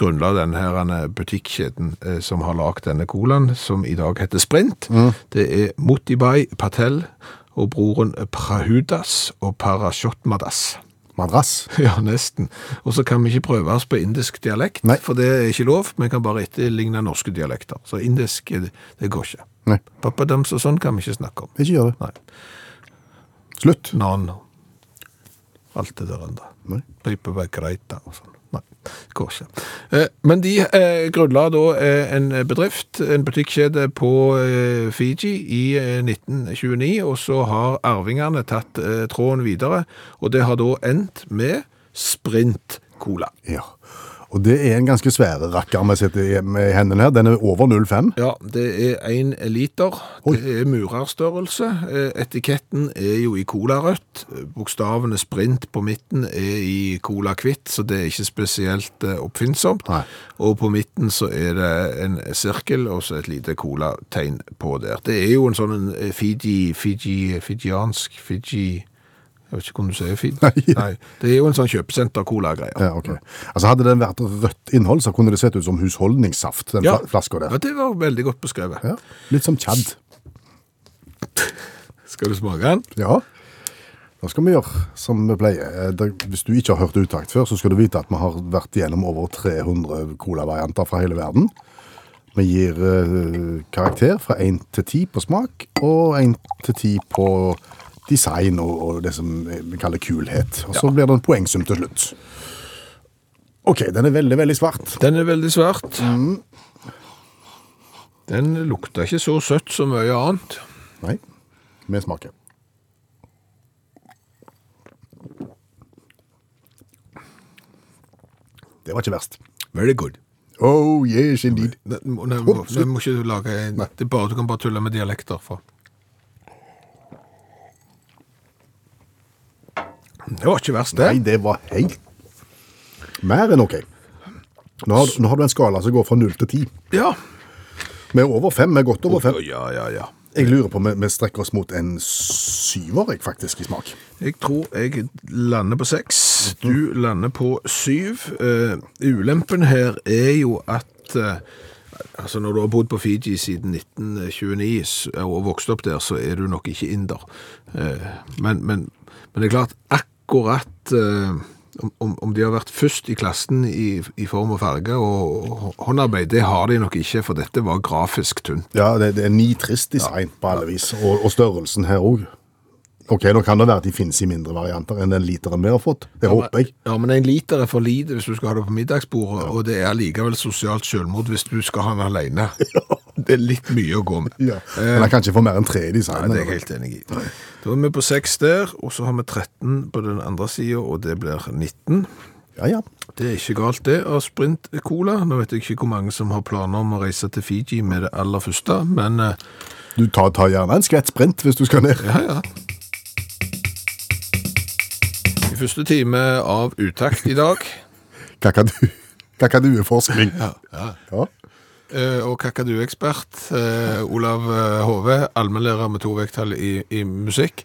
Speaker 3: grunnla denne her, eh, butikkjeden eh, som har lagd denne colaen, som i dag heter Sprint. Det er Motibai Patel og broren Prahudas og Parashotmadas.
Speaker 2: Madrass.
Speaker 3: Ja, nesten. Og så kan vi ikke prøve oss på indisk dialekt,
Speaker 2: Nei.
Speaker 3: for det er ikke lov. Vi kan bare etterligne norske dialekter. Så indisk, eh, det går ikke.
Speaker 2: Nei,
Speaker 3: Pappadams og sånn kan vi ikke snakke om.
Speaker 2: ikke gjør det.
Speaker 3: Nei.
Speaker 2: Slutt.
Speaker 3: Nan. Alt det der andre.
Speaker 2: Nei.
Speaker 3: Rypevegreita og sånn. Nei, det går ikke. Eh, Men de eh, grunnla da eh, en bedrift, en butikkjede på eh, Fiji i eh, 1929, og så har arvingene tatt eh, tråden videre, og det har da endt med Sprint Cola.
Speaker 2: Ja. Og det er en ganske svære rakker vi sitter i- med i hendene her. Den er over 0,5.
Speaker 3: Ja, det er én liter.
Speaker 2: Oi.
Speaker 3: Det er murerstørrelse. Eh, Etiketten er jo i colarødt. Bokstavene sprint på midten er i cola hvitt, så det er ikke spesielt eh, oppfinnsomt.
Speaker 2: Nei.
Speaker 3: Og på midten så er det en sirkel og så et lite colategn på der. Det er jo en sånn en, eh, Fiji, Fiji, fijiansk, Fiji Jeg vet ikke hvordan du sier Fiji.
Speaker 2: Nei.
Speaker 3: Det er jo en sånn kjøpesenter-cola-greie.
Speaker 2: Ja, ok. Altså Hadde den vært rødt innhold, så kunne det sett ut som husholdningssaft. den
Speaker 3: Ja.
Speaker 2: fla- flaska
Speaker 3: Ja,
Speaker 2: der.
Speaker 3: det var veldig godt beskrevet.
Speaker 2: Ja. Litt som Tjad.
Speaker 3: Skal du smake den?
Speaker 2: Ja. Da skal vi gjøre som vi pleier. Eh, det- Hvis du ikke har hørt Utakt før, så skal du vite at vi har vært gjennom over 300 colavarianter fra hele verden. Vi gir eh, karakter fra 1 til 10 på smak, og 1 til 10 på design og, og det som vi kaller kulhet. Og så blir det en poengsum til slutt. OK, den er veldig, veldig svart.
Speaker 3: Den er veldig svart. Den lukter ikke så søtt som mye annet.
Speaker 2: Nei, vi smaker. Det var ikke verst.
Speaker 3: Very good.
Speaker 2: Oh yes, indeed.
Speaker 3: Nei, må- nei, må-
Speaker 2: Ops.
Speaker 3: nei, må ikke lage en, det er bare, Du kan bare tulle med dialekter. For. Det var ikke verst,
Speaker 2: Nei,
Speaker 3: det.
Speaker 2: det var helt Mer enn OK. Nå har, nå har du en skala som går fra null til ti.
Speaker 3: Ja.
Speaker 2: Vi er over fem. Vi er godt over fem.
Speaker 3: ja, ja, ja.
Speaker 2: Jeg lurer på om vi- vi strekker oss mot en syver jeg, faktisk i smak.
Speaker 3: Jeg tror jeg lander på seks. Du lander på syv. Eh, ulempen her er jo at eh, altså når du har bodd på Fiji siden 1929 s- og vokst opp der, så er du nok ikke inder. Eh, men, men, men det er klart, akkurat eh, om- om, om de har vært først i klassen i, i form og farge og hå- håndarbeid, det har de nok ikke, for dette var grafisk tynt.
Speaker 2: Ja, det, det er nitrist design på alle vis, og, og størrelsen her òg. OK, nå kan det være at de finnes i mindre varianter enn den literen vi har fått. Det håper jeg.
Speaker 3: Ja, men en liter er for lite hvis du skal ha det på middagsbordet, og det er likevel sosialt selvmord hvis du skal ha den alene. Det er litt mye å gå med. Eh,
Speaker 2: Men jeg kan ikke få mer enn tre i design.
Speaker 3: Nei, det er jeg helt enig i. Da er vi på 6 der, og så har vi 13 på den andre siden, og det blir 19.
Speaker 2: Ja, ja.
Speaker 3: Det er ikke galt det av Sprint Cola. Nå vet jeg ikke hvor mange som har planer om å reise til Fiji med det aller første, men eh,
Speaker 2: Du tar, tar gjerne en skvett sprint hvis du skal ned.
Speaker 3: Ja, ja. I første time av uttakt i dag,
Speaker 2: Kakadu. Kakadueforskning. Ja. ja.
Speaker 3: Eh, og kakaduekspert eh, Olav eh, Hove, allmennlærer med to vekttall i, i musikk.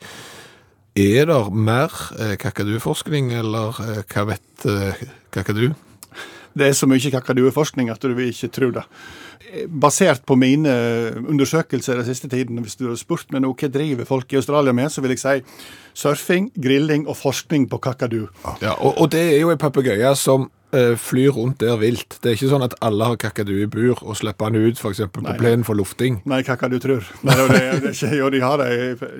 Speaker 3: Er det mer eh, kakaduforskning, eller eh, hva vet eh, kakadu?
Speaker 5: Det er så mye kakadueforskning at du vil ikke tro det. Basert på mine undersøkelser den siste tiden, hvis du hadde spurt meg nå hva driver folk i Australia med, så vil jeg si surfing, grilling og forskning på kakadu.
Speaker 3: Ja, og, og det er jo en papegøye som eh, flyr rundt der vilt. Det er ikke sånn at alle har kakadu i bur og slipper han ut f.eks. på plenen for lufting.
Speaker 5: Nei, hva kan du tro? Nei, det er- det er ikke- Jo, de har det,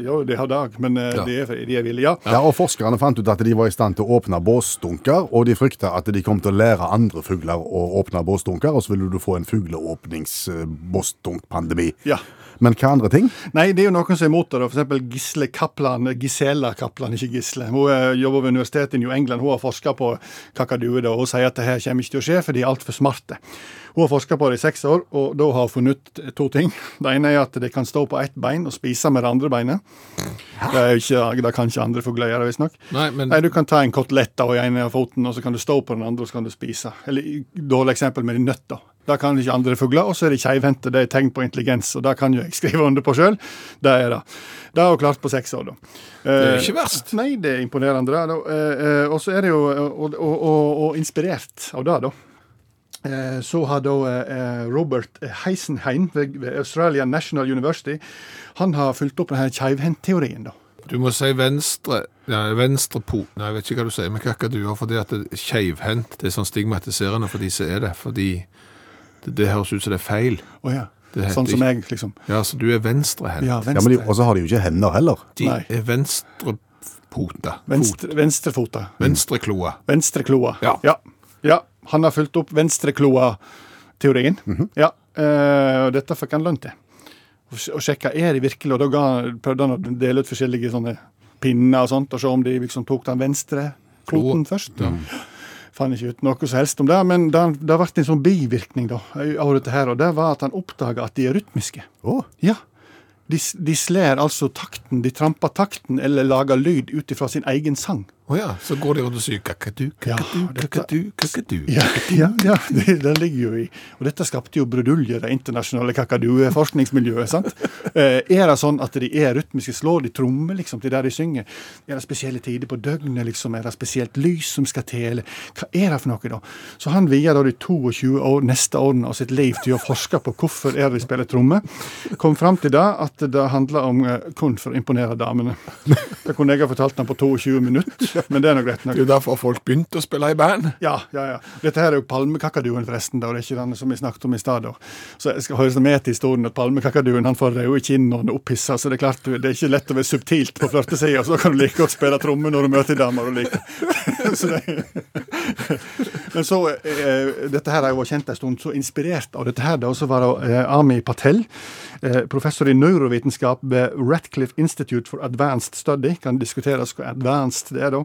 Speaker 5: jo, de har dag, men eh,
Speaker 3: Ja.
Speaker 5: de, er, de er villige. Ja.
Speaker 2: Ja, og Forskerne fant ut at de var i stand til å åpne båsdunker, og de frykta at de kom til å lære andre fugler å åpne båsdunker, og så ville du få en fugleåpnings-båsdunkpandemi.
Speaker 5: Ja.
Speaker 2: Men hva andre ting?
Speaker 5: Nei, det er jo noen som er imot det. da. For eksempel Gisle Kaplan, eh, Gisela Kaplan, ikke Gisle. Hun eh, jobber ved universitetet i New England. Hun har forska på kakadue, da, og hun sier at det her kommer ikke til å skje, for de er altfor smarte. Hun har forska på det i seks år, og da har hun funnet ut to ting. Det ene er at de kan stå på ett bein og spise med det andre beinet. Det, er jo ikke, det kan ikke andre fugler gjøre, visstnok.
Speaker 3: Nei, men-
Speaker 5: Nei, du kan ta en kotelett da, i ene av foten, og så kan du stå på den andre, og så kan du spise. Eller dårlig eksempel med de nøtter. Det kan ikke andre fugler. Og så er de keivhendte. Det er tegn på intelligens, og det kan jo jeg skrive under på sjøl. Det er det. Det har hun klart på seks år, da. Eh, Det
Speaker 3: er jo ikke verst.
Speaker 5: Nei, det er imponerende. det, da. Eh, eh, Og så er det jo og, og, og, og inspirert av det, da. Eh, Så har da eh, Robert Heisenheim ved ved Australian National University han har fulgt opp denne keivhendteorien. da.
Speaker 3: Du må si venstre Nei, venstre po... Nei, jeg vet ikke hva du sier med kakaduer, fordi at det er skeivhendt. Det er sånn stigmatiserende for de som er det, fordi det, det høres ut som det er feil.
Speaker 5: Å ja.
Speaker 3: Det heter
Speaker 5: Sånn som
Speaker 3: ikke-
Speaker 5: jeg, liksom.
Speaker 3: Ja, så du er venstrehendt.
Speaker 5: Ja,
Speaker 2: Ja, men
Speaker 5: venstre,
Speaker 2: de, Og så har de jo ikke hender heller.
Speaker 3: De
Speaker 5: nei.
Speaker 3: er venstrepota.
Speaker 5: venstre, venstrefota.
Speaker 3: Fot. Venstrekloa.
Speaker 5: Venstrekloa.
Speaker 3: Ja.
Speaker 5: ja. Ja, Han har fulgt opp venstrekloa-teorien. Ja, eh, og Dette fikk han lønn til. Og sj- Og sjekka er de virkelig, og da ga, han- prøvde han å dele ut forskjellige sånne pinner og sånt, og se om de liksom tok den venstre kloten først. Fant ikke ut noe som helst om det, men det, det ble en sånn bivirkning da, av dette her, og det var at han oppdaga at de er rytmiske.
Speaker 2: Å,
Speaker 5: Ja. De, s- de slår altså takten, de tramper takten eller lager lyd ut ifra sin egen sang.
Speaker 3: Å ja, så går de rundt og sier kakadu, kakadu,
Speaker 5: Ja, dette-
Speaker 3: kakadu, kakadu.
Speaker 5: Ja, ja, ja det, den ligger jo i. Og dette skapte jo brudulje, det internasjonale kakadue-forskningsmiljøet. sant? Eh, er det sånn at de er rytmiske? Slår de trommer liksom, til der de synger? Er det spesielle tider på døgnet? liksom? Er det spesielt lys som skal til? Eller hva er det for noe, da? Så han vier da de 22 år, neste årene av sitt liv til å forske på hvorfor er det de spiller trommer. Kom fram til det at det handler om eh, kun for å imponere damene. Det kunne jeg ha fortalt ham på 22 minutter, men det er nå greit nok.
Speaker 3: Det er jo derfor folk begynte å spille i band.
Speaker 5: Ja, ja, ja. Dette her er jo palmekakaduen, forresten. da, og det er ikke den som vi snakket om i stad. da. Så jeg skal høre med til historien at palmekakaduen han får røde kinn når han er opphissa, så det er klart du- det er ikke lett å være subtilt på flørtesida, så da kan du like godt spille tromme når du møter damer du liker. Så det- Men så, eh, dette her har jo vært kjent en stund, så inspirert av dette her, da, så var det eh, Ami Patel, eh, professor i neurovitenskap ved Ratcliffe Institute for Advanced Study, kan diskuteres hvor advanced det er da.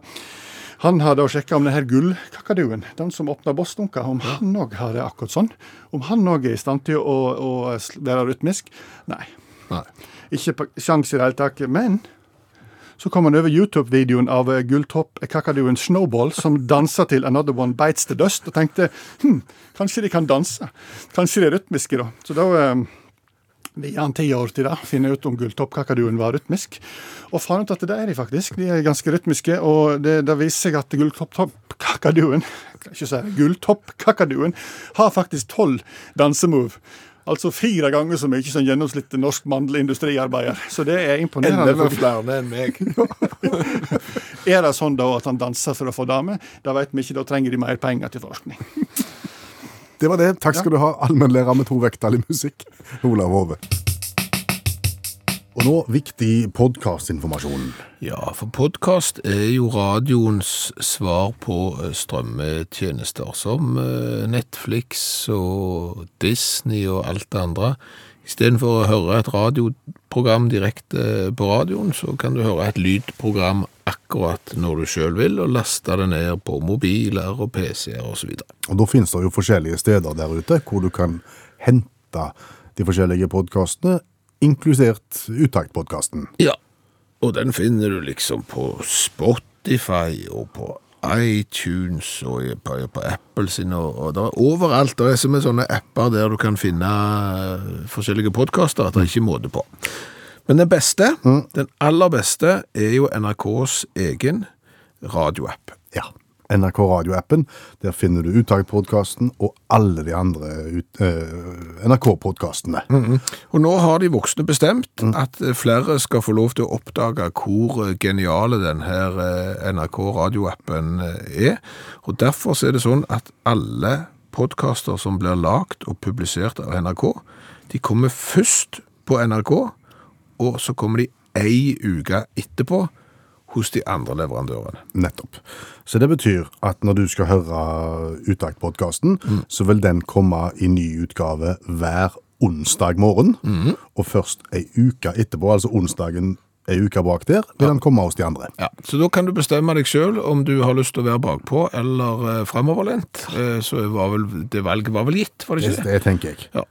Speaker 5: Han har da sjekka om denne gullkakaduen, den som åpner bossdunker, om han òg har det akkurat sånn. Om han òg er i stand til å, å sl- være rytmisk. Nei.
Speaker 3: Nei.
Speaker 5: Ikke på sjans i det hele tatt. Men så kom han over YouTube-videoen av eh, gulltopp-kakaduen Snowball, som danser til Another One Bites The Dust, og tenkte hm, kanskje de kan danse. Kanskje de er rytmiske, da. Så da eh, vi gir han ti år til det, finner ut om gulltoppkakaduen var rytmisk. Og fant ut at det er de faktisk. De er ganske rytmiske, og det, det viser seg at gulltoppkakaduen ikke si det, gulltoppkakaduen har faktisk tolv dansemove. Altså fire ganger så mye som gjennomsnittet norsk mannlig industriarbeider. Så det er imponerende.
Speaker 3: Enda flere enn meg.
Speaker 5: Er det sånn da at han danser for å få dame? Da vet vi ikke, da trenger de mer penger til forskning.
Speaker 2: Det var det. Takk skal du ha, allmennlærer med to vekttall i musikk, Olav Hove. Og nå viktig podkastinformasjon.
Speaker 3: Ja, for podkast er jo radioens svar på eh, strømmetjenester som eh, Netflix og Disney og alt det andre. Istedenfor å høre et radioprogram direkte eh, på radioen, så kan du høre et lydprogram akkurat når du sjøl vil, og laste det ned på mobiler og PC-er osv.
Speaker 2: Og da finnes det jo forskjellige steder der ute hvor du kan hente de forskjellige podkastene, inkludert Utaktpodkasten.
Speaker 3: Ja, og den finner du liksom på Spotify og på iTunes og i- på, på Apple sin, og, og der, overalt. Det er som en sånne apper der du kan finne eh, forskjellige podkaster, at det er ikke måte på. Men den beste, den aller beste, er jo NRKs egen radioapp.
Speaker 2: Ja. NRK Radio-appen. Der finner du Uttakpodkasten og alle de andre ut- eh, NRK-podkastene.
Speaker 3: Og nå har de voksne bestemt at eh, flere skal få lov til å oppdage hvor eh, geniale denne NRK radioappen eh, er. Og derfor så er det sånn at alle podkaster som blir lagd og publisert av NRK, de kommer først på NRK, og så kommer de ei uke etterpå hos de andre leverandørene.
Speaker 2: Nettopp. Så det betyr at når du skal høre Utakt-podkasten, så vil den komme i ny utgave hver onsdag morgen. Og først ei uke etterpå, altså onsdagen ei uke bak der, vil den komme hos de andre.
Speaker 3: Ja, Så da kan du bestemme deg sjøl om du har lyst til å være bakpå eller eh, framoverlent. Eh, Så var vel, det valget var vel gitt, var det ikke det?
Speaker 2: Det tenker jeg.
Speaker 3: Ja.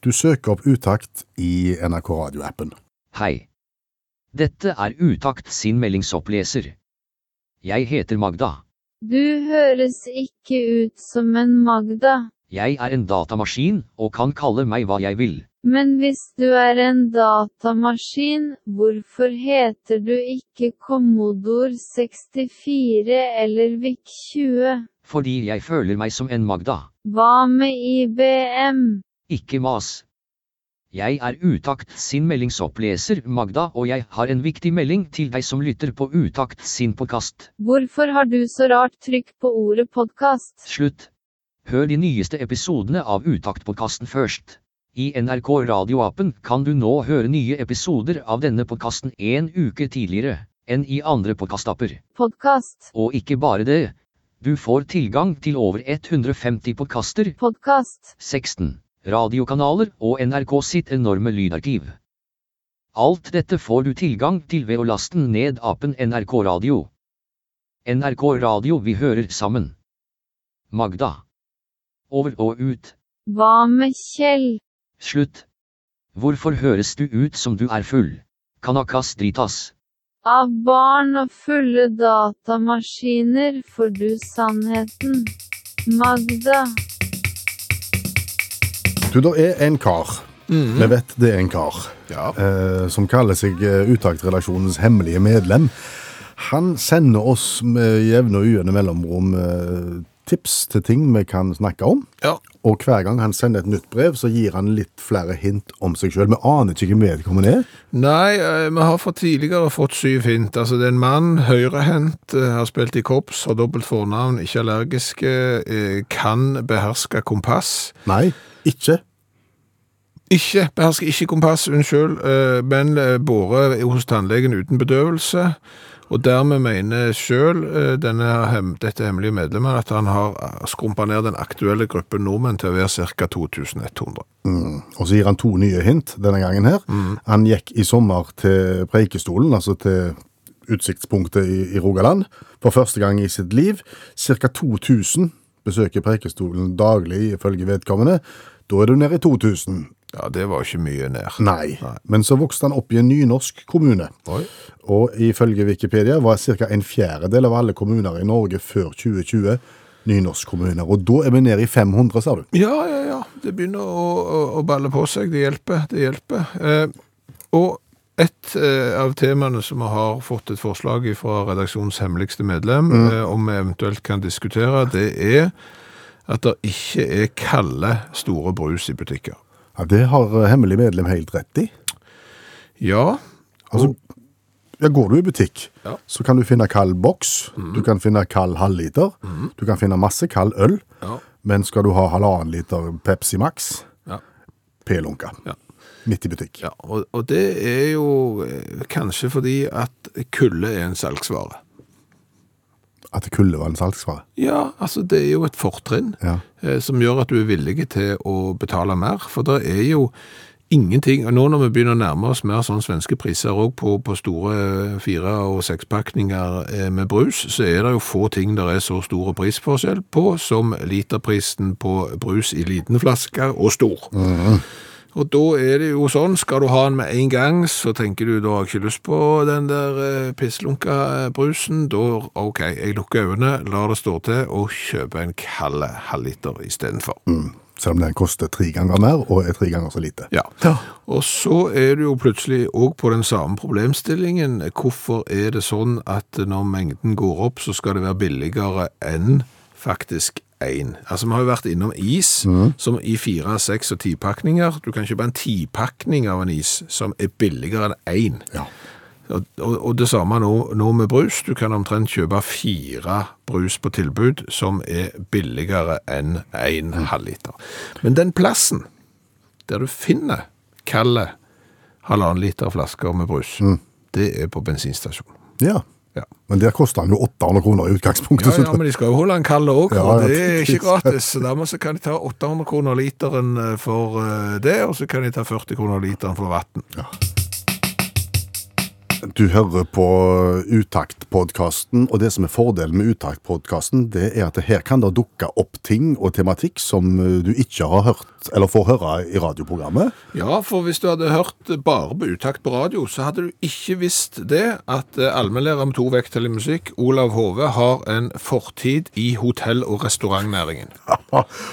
Speaker 2: Du søker opp Utakt i NRK Radio-appen.
Speaker 7: Hei. Dette er Utakt sin meldingsoppleser. Jeg heter Magda.
Speaker 8: Du høres ikke ut som en Magda,
Speaker 7: Jeg er en datamaskin, og kan kalle meg hva jeg vil.
Speaker 8: men hvis du er en datamaskin, hvorfor heter du ikke Commodore 64 eller VIC20?
Speaker 7: Fordi jeg føler meg som en Magda.
Speaker 8: Hva med IBM?
Speaker 7: Ikke mas. Jeg er Utakt sin meldingsoppleser, Magda, og jeg har en viktig melding til deg som lytter på Utakt sin podkast.
Speaker 8: Hvorfor har du så rart trykk på ordet podkast?
Speaker 7: Slutt. Hør de nyeste episodene av Utakt-podkasten først. I NRK radioappen kan du nå høre nye episoder av denne podkasten en uke tidligere enn i andre podkastapper.
Speaker 8: Podkast.
Speaker 7: Og ikke bare det. Du får tilgang til over 150 podkaster,
Speaker 8: Podkast.
Speaker 7: 16 radiokanaler og NRK sitt enorme lydarkiv. Alt dette får du tilgang til ved å laste ned appen NRK Radio. NRK Radio vi hører sammen. Magda. Over og ut.
Speaker 8: Hva med Kjell?
Speaker 7: Slutt. Hvorfor høres du ut som du er full? Kanakas dritas.
Speaker 8: Av barn og fulle datamaskiner får du sannheten. Magda.
Speaker 2: Du, det er en kar.
Speaker 3: Mm.
Speaker 2: Vi vet det er en kar.
Speaker 3: Ja.
Speaker 2: eh, som kaller seg eh, Utaktredaksjonens hemmelige medlem. Han sender oss med jevne og ujevne mellomrom eh, tips til ting vi kan snakke om.
Speaker 3: Ja.
Speaker 2: Og hver gang han sender et nytt brev, så gir han litt flere hint om seg sjøl. Vi aner ikke hvem vedkommende er.
Speaker 3: Nei, eh, vi har fra tidligere fått syv hint. Altså, det er en mann, høyrehendt, eh, har spilt i korps, har dobbelt fornavn, ikke allergisk, eh, kan beherske kompass.
Speaker 2: Nei, ikke.
Speaker 3: Ikke behersker ikke kompass, unnskyld, eh, men eh, båret hos tannlegen uten bedøvelse. Og dermed mener sjøl eh, denne hem, dette hemmelige medlemmet at han har eh, skrumpa ned den aktuelle gruppen nordmenn til å være ca. 2100.
Speaker 2: Og så gir han to nye hint denne gangen her. Han gikk i sommer til Preikestolen, altså til utsiktspunktet i, i Rogaland, for første gang i sitt liv. Cirka 2000 besøker Preikestolen daglig, ifølge vedkommende. Da er du nede i 2000.
Speaker 3: Ja, det var ikke mye nær.
Speaker 2: Nei. Men så vokste han opp i en nynorsk kommune. Og ifølge Wikipedia var ca. en fjerdedel av alle kommuner i Norge før 2020 nynorskkommuner. Og da er vi nede i 500, sa du.
Speaker 3: Ja, ja, ja. Det begynner å, å, å balle på seg. Det hjelper. Det hjelper. Eh, og et eh, av temaene som vi har fått et forslag fra redaksjonens hemmeligste medlem eh, om vi eventuelt kan diskutere, det er at det ikke er kalde store brus i butikker.
Speaker 2: Ja, Det har eh, hemmelig medlem helt rett i.
Speaker 3: Ja,
Speaker 2: Altså, ja, går du i butikk,
Speaker 3: Ja. Mhm.
Speaker 2: så kan du finne kald boks, du kan finne kald halvliter, du kan finne masse kald øl,
Speaker 3: Ja.
Speaker 2: men skal du ha halvannen liter Pepsi Max,
Speaker 3: Ja.
Speaker 2: P-lunka,
Speaker 3: Ja.
Speaker 2: midt i butikk.
Speaker 3: ja. Og, og det er jo eh, kanskje fordi at kulde er en salgsvare.
Speaker 2: At det kulde var en salgsvare.
Speaker 3: Ja, altså det er jo et fortrinn
Speaker 2: Ja.
Speaker 3: eh, som gjør at du er villig til å betale mer, for det er jo ingenting, og nå når vi begynner å nærme oss mer sånn svenske priser også på, på store eh, fire- og sekspakninger eh, med brus, så er det jo få ting der er så store prisforskjell på som literprisen på brus i liten flaske og stor. Og da er det jo sånn, skal du ha den med en gang, så tenker du da har jeg ikke lyst på den der eh, pisslunka eh, brusen. Da OK, jeg lukker øynene, lar det stå til og kjøper en kald halvliter istedenfor.
Speaker 2: Selv om den koster tre ganger mer, og er tre ganger så lite.
Speaker 3: Ja. Og så er du jo plutselig òg på den samme problemstillingen. Hvorfor er det sånn at når mengden går opp, så skal det være billigere enn faktisk én? Altså, vi har jo vært innom is, som i fire, seks og tipakninger. Du kan kjøpe en tipakning av en is som er billigere enn én. Og, og, og det samme nå, nå med brus. Du kan omtrent kjøpe fire brus på tilbud som er billigere enn en halvliter. Men den plassen der du finner kalde halvannen liter flasker med brus, det er på bensinstasjonen.
Speaker 2: Ja.
Speaker 3: Ja.
Speaker 2: Men der koster den jo 800 kroner i utgangspunktet.
Speaker 3: Ja,
Speaker 2: så
Speaker 3: ja, men de skal jo holde en kald òg,
Speaker 2: Ja, ja,
Speaker 3: og det er ikke
Speaker 2: tydeligvis.
Speaker 3: gratis. Så Dermed så kan de ta 800 kroner literen eh, for eh, det, og så kan de ta 40 kroner literen for vann.
Speaker 2: Du hører på Utakt-podkasten, og det som er fordelen med Utakt-podkasten, det er at her kan det dukke opp ting og tematikk som eh, du ikke har hørt, eller får høre i radioprogrammet.
Speaker 3: Ja, for hvis du hadde hørt bare på utakt på radio, så hadde du ikke visst det at eh, allmennlærer med to vekttall i musikk, Olav Hove, har en fortid i hotell- og restaurantnæringen.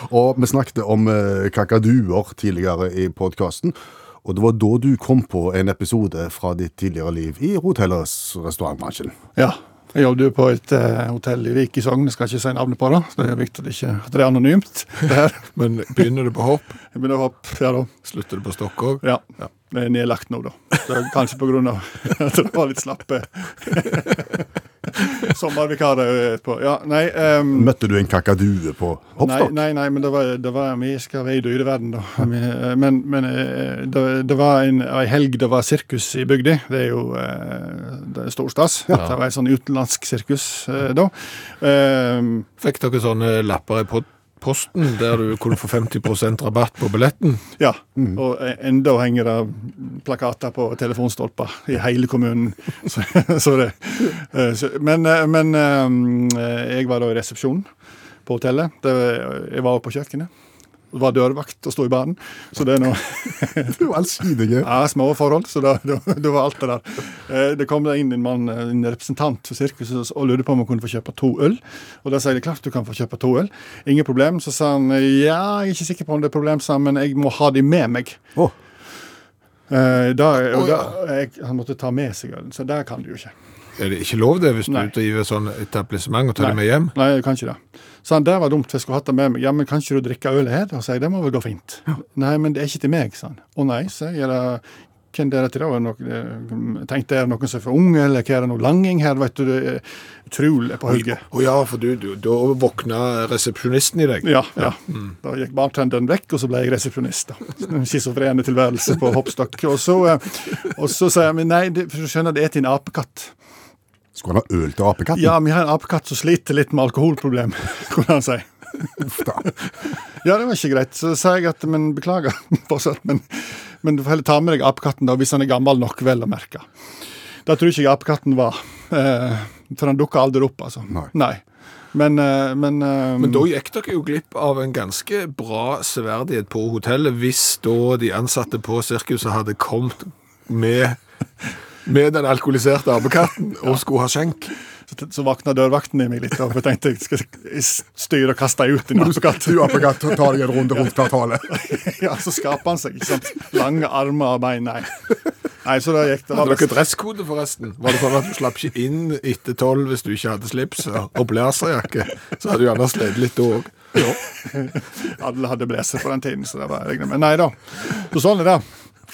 Speaker 2: og vi snakket om eh, kakaduer tidligere i podkasten, og det var da du kom på en episode fra ditt tidligere liv i hotell- og restaurantbransjen.
Speaker 5: Ja. Jeg jobbet jo på et eh, hotell i Vik i Sogn, jeg skal ikke si navnet på det. så Det er viktig at, det ikke, at det er anonymt. det her.
Speaker 3: Men begynner du på hopp,
Speaker 5: Jeg begynner å hoppe, ja da.
Speaker 3: slutter du på stokk òg.
Speaker 5: Ja. Det er nedlagt nå, da. Det er kanskje på grunn av at det var litt slappe sommervikarer på Ja, nei. ehm,
Speaker 2: Møtte du en kakadue på
Speaker 5: Nei,
Speaker 2: hoppstokk?
Speaker 5: nei, nei, men det var, det var vi skal være i dyreverden, da. Vi- Men, men eh, det, det var en, ei helg det var sirkus i bygda. Det er jo eh, det er stor stas. Det var et sånn utenlandsk sirkus eh, da. Ehm,
Speaker 3: Fikk dere sånne lapper i pod- posten der du kunne få 50 rabatt på billetten?
Speaker 5: Ja, og eh, enda henger det plakater på telefonstolper i hele kommunen. Så, så det. eh, Så, men, eh, men eh, jeg var da i resepsjonen på hotellet. Det, jeg var også på kjøkkenet. Var dørvakt og sto i baren. Så det er noe
Speaker 2: Du er allsidig.
Speaker 5: ja, små forhold, så da, da, da var alt det der. Eh, Det kom da inn en mann, eh, en representant for sirkuset og lurte på om han kunne få kjøpe to øl. Og da sa jeg klart du kan få kjøpe to øl. Ingen problem. Så sa han ja, jeg er ikke sikker på om det er problem, sa han, men jeg må ha de med meg.
Speaker 2: Å.
Speaker 5: Eh, Da, og
Speaker 3: Å,
Speaker 5: da,
Speaker 3: ja.
Speaker 5: jeg, han måtte ta med seg ølen, så der kan du jo ikke.
Speaker 3: Er det ikke lov det hvis
Speaker 5: Nei.
Speaker 3: du driver sånn etablissement og tar det med hjem?
Speaker 5: Nei, jeg kan ikke det. Så han, det var dumt, for jeg skulle hatt det med meg. Ja, men kan ikke du drikke øl her? Da sa jeg, det må vel gå fint. Nei, men det er ikke til meg, sa han. Å nei, sa jeg, er det, hvem det er til da? Er det noen, eh, tenkte jeg, er det noen som er for unge, eller hva er det noe langing her, vet du, det er utrolig på hugget.
Speaker 3: Å ja, for du, du, da våkna resepsjonisten i deg.
Speaker 5: Ja, ja. Mm. Da gikk bartenderen vekk, og så ble jeg resepsjonist. da. En schizofrene tilværelse på hoppstokk. Og så, eh, og så sa jeg, men nei, det, for du skjønner, det er til en apekatt.
Speaker 2: Skulle han ha øl til apekatten?
Speaker 5: Ja, vi har en apekatt som sliter litt med alkoholproblem, kunne han si. Ja, det var ikke greit. Så sa jeg at men beklager fortsatt, men, men du får heller ta med deg apekatten da, hvis han er gammel nok, vel å merke. Det tror ikke jeg apekatten var, eh, for han dukka aldri opp, altså.
Speaker 2: Nei.
Speaker 5: Men, eh, men, eh,
Speaker 3: Men da gikk dere jo glipp av en ganske bra severdighet på hotellet hvis da de ansatte på sirkuset hadde kommet med, med den alkoholiserte apekatten og skulle ha skjenk.
Speaker 5: så, så vakna dørvakten i meg litt, og jeg tenkte jeg skal jeg styre og kaste ut en apekatt.
Speaker 2: Du apekatt, ta deg en runde rundt kvartalet.
Speaker 5: Ja, så skaper han seg, ikke sant. Lange armer og bein, nei. Nei, så da gikk det.
Speaker 3: Hadde dere dresskode, forresten? Var det sånn at du slapp ikke inn etter tolv hvis du ikke hadde slips og blazerjakke? Så hadde du gjerne slitt litt da òg.
Speaker 5: Alle hadde bleser på den tiden, så det var jeg regner med. Nei da. Så sånn er det.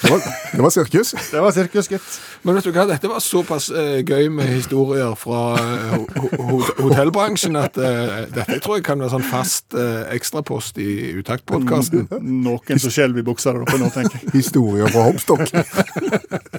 Speaker 2: Det var, det var sirkus.
Speaker 5: Det var sirkus, gitt.
Speaker 3: Men vet du hva, dette var såpass eh, gøy med historier fra eh, ho ho hotellbransjen at eh, dette tror jeg kan være sånn fast eh, ekstrapost i Utaktpodkasten.
Speaker 5: Noen som skjelver i buksa der oppe nå, tenker jeg.
Speaker 2: Historier fra hoppstokk.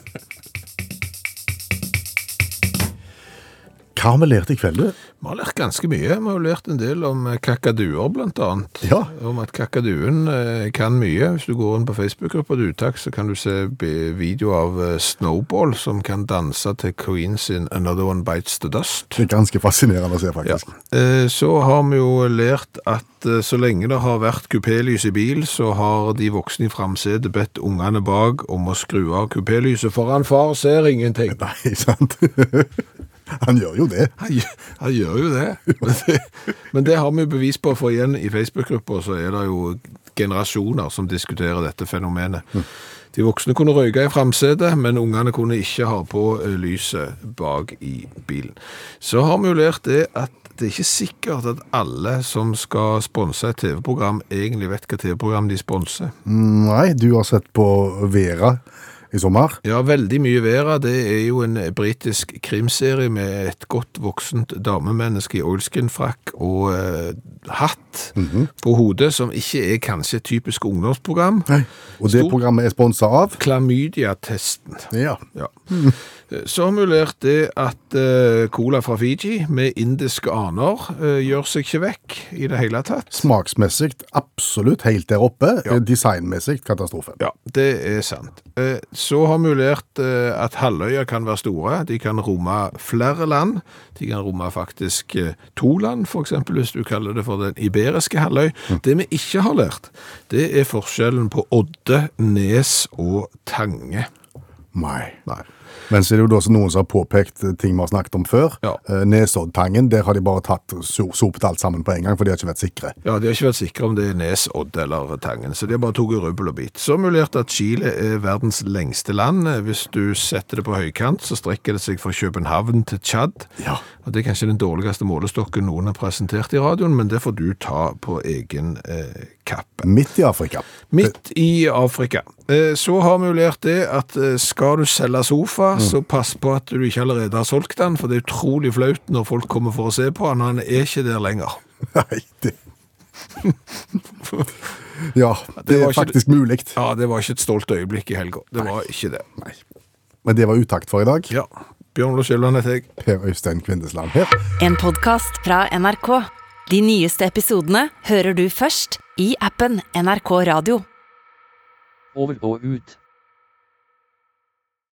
Speaker 2: Hva har vi lært i kveld? du?
Speaker 3: Vi har lært ganske mye. Vi har jo lært en del om eh, kakaduer, blant annet.
Speaker 2: Ja.
Speaker 3: Om at kakaduen eh, kan mye. Hvis du går inn på Facebook-gruppa til Utakt, så kan du se be- video av eh, Snowball, som kan danse til Queen sin Another One Bites The Dust.
Speaker 2: Det er ganske fascinerende å se,
Speaker 3: Ja.
Speaker 2: faktisk.
Speaker 3: Eh, Så har vi jo lært at eh, så lenge det har vært kupélys i bil, så har de voksne i framsetet bedt ungene bak om å skru av kupélyset, for han far ser ingenting.
Speaker 2: Nei, sant? Han gjør jo det.
Speaker 3: Han, gjør- han gjør jo det. Men det, men det har vi jo bevis på, for igjen i Facebook-gruppa så er det jo generasjoner som diskuterer dette fenomenet. De voksne kunne røyke i framsetet, men ungene kunne ikke ha på eh, lyset bak i bilen. Så har vi jo lært det at det er ikke sikkert at alle som skal sponse et TV-program, egentlig vet hva TV-program de sponser.
Speaker 2: Nei, du har sett på Vera i sommer.
Speaker 3: Ja, veldig mye Vera. Det er jo en britisk krimserie med et godt voksent damemenneske i oilskin-frakk og eh, hatt på hodet, som ikke er kanskje et typisk ungdomsprogram.
Speaker 2: Og det
Speaker 3: Stor-
Speaker 2: programmet er sponsa av
Speaker 3: Klamydia-testen.
Speaker 2: Ja.
Speaker 3: Ja. Eh, Så har vi lært det at eh, cola fra Fiji med indiske aner eh, gjør seg ikke vekk i det hele tatt.
Speaker 2: Smaksmessig absolutt helt der oppe. Designmessig katastrofe.
Speaker 3: Ja, det er sant. Eh, Så har vi lært eh, at halvøyer kan være store. De kan romme flere land. De kan romme faktisk eh, to land, for eksempel, hvis du kaller det for den iberiske halvøy. Det vi ikke har lært, det er forskjellen på odde, nes og tange.
Speaker 2: Nei.
Speaker 3: Nei.
Speaker 2: Men så er det jo da som noen som har påpekt ting vi har snakket om før.
Speaker 3: Ja.
Speaker 2: Eh, Nesoddtangen, der har de bare tatt so sopet alt sammen på en gang, for de har ikke vært sikre.
Speaker 3: Ja, De har ikke vært sikre om det er Nes, Odd eller Tangen, så de har bare tatt rubbel og bit. Så mulerte at Chile er verdens lengste land. Hvis du setter det på høykant, så strekker det seg fra København til Tsjad.
Speaker 2: Ja.
Speaker 3: Og Det er kanskje den dårligste målestokken noen har presentert i radioen, men det får du ta på egen eh, kappe.
Speaker 2: Midt i Afrika.
Speaker 3: Midt i Afrika. Eh, Så har vi jo lært det at eh, skal du selge sofa, så pass på at du ikke allerede har solgt den, for det er utrolig flaut når folk kommer for å se på den, og han er ikke der lenger.
Speaker 2: Nei, det Ja, det
Speaker 3: var
Speaker 2: er
Speaker 3: ikke-
Speaker 2: faktisk mulig.
Speaker 3: Ja, det var ikke et stolt øyeblikk i helga. Det var ikke det.
Speaker 2: Men det var utakt for i dag.
Speaker 3: Ja. Bjørn Lars Kjelland heter jeg.
Speaker 2: Per Øystein Kvindesland her.
Speaker 1: En podkast fra NRK. De nyeste episodene hører du først i appen NRK Radio.
Speaker 7: Over og ut.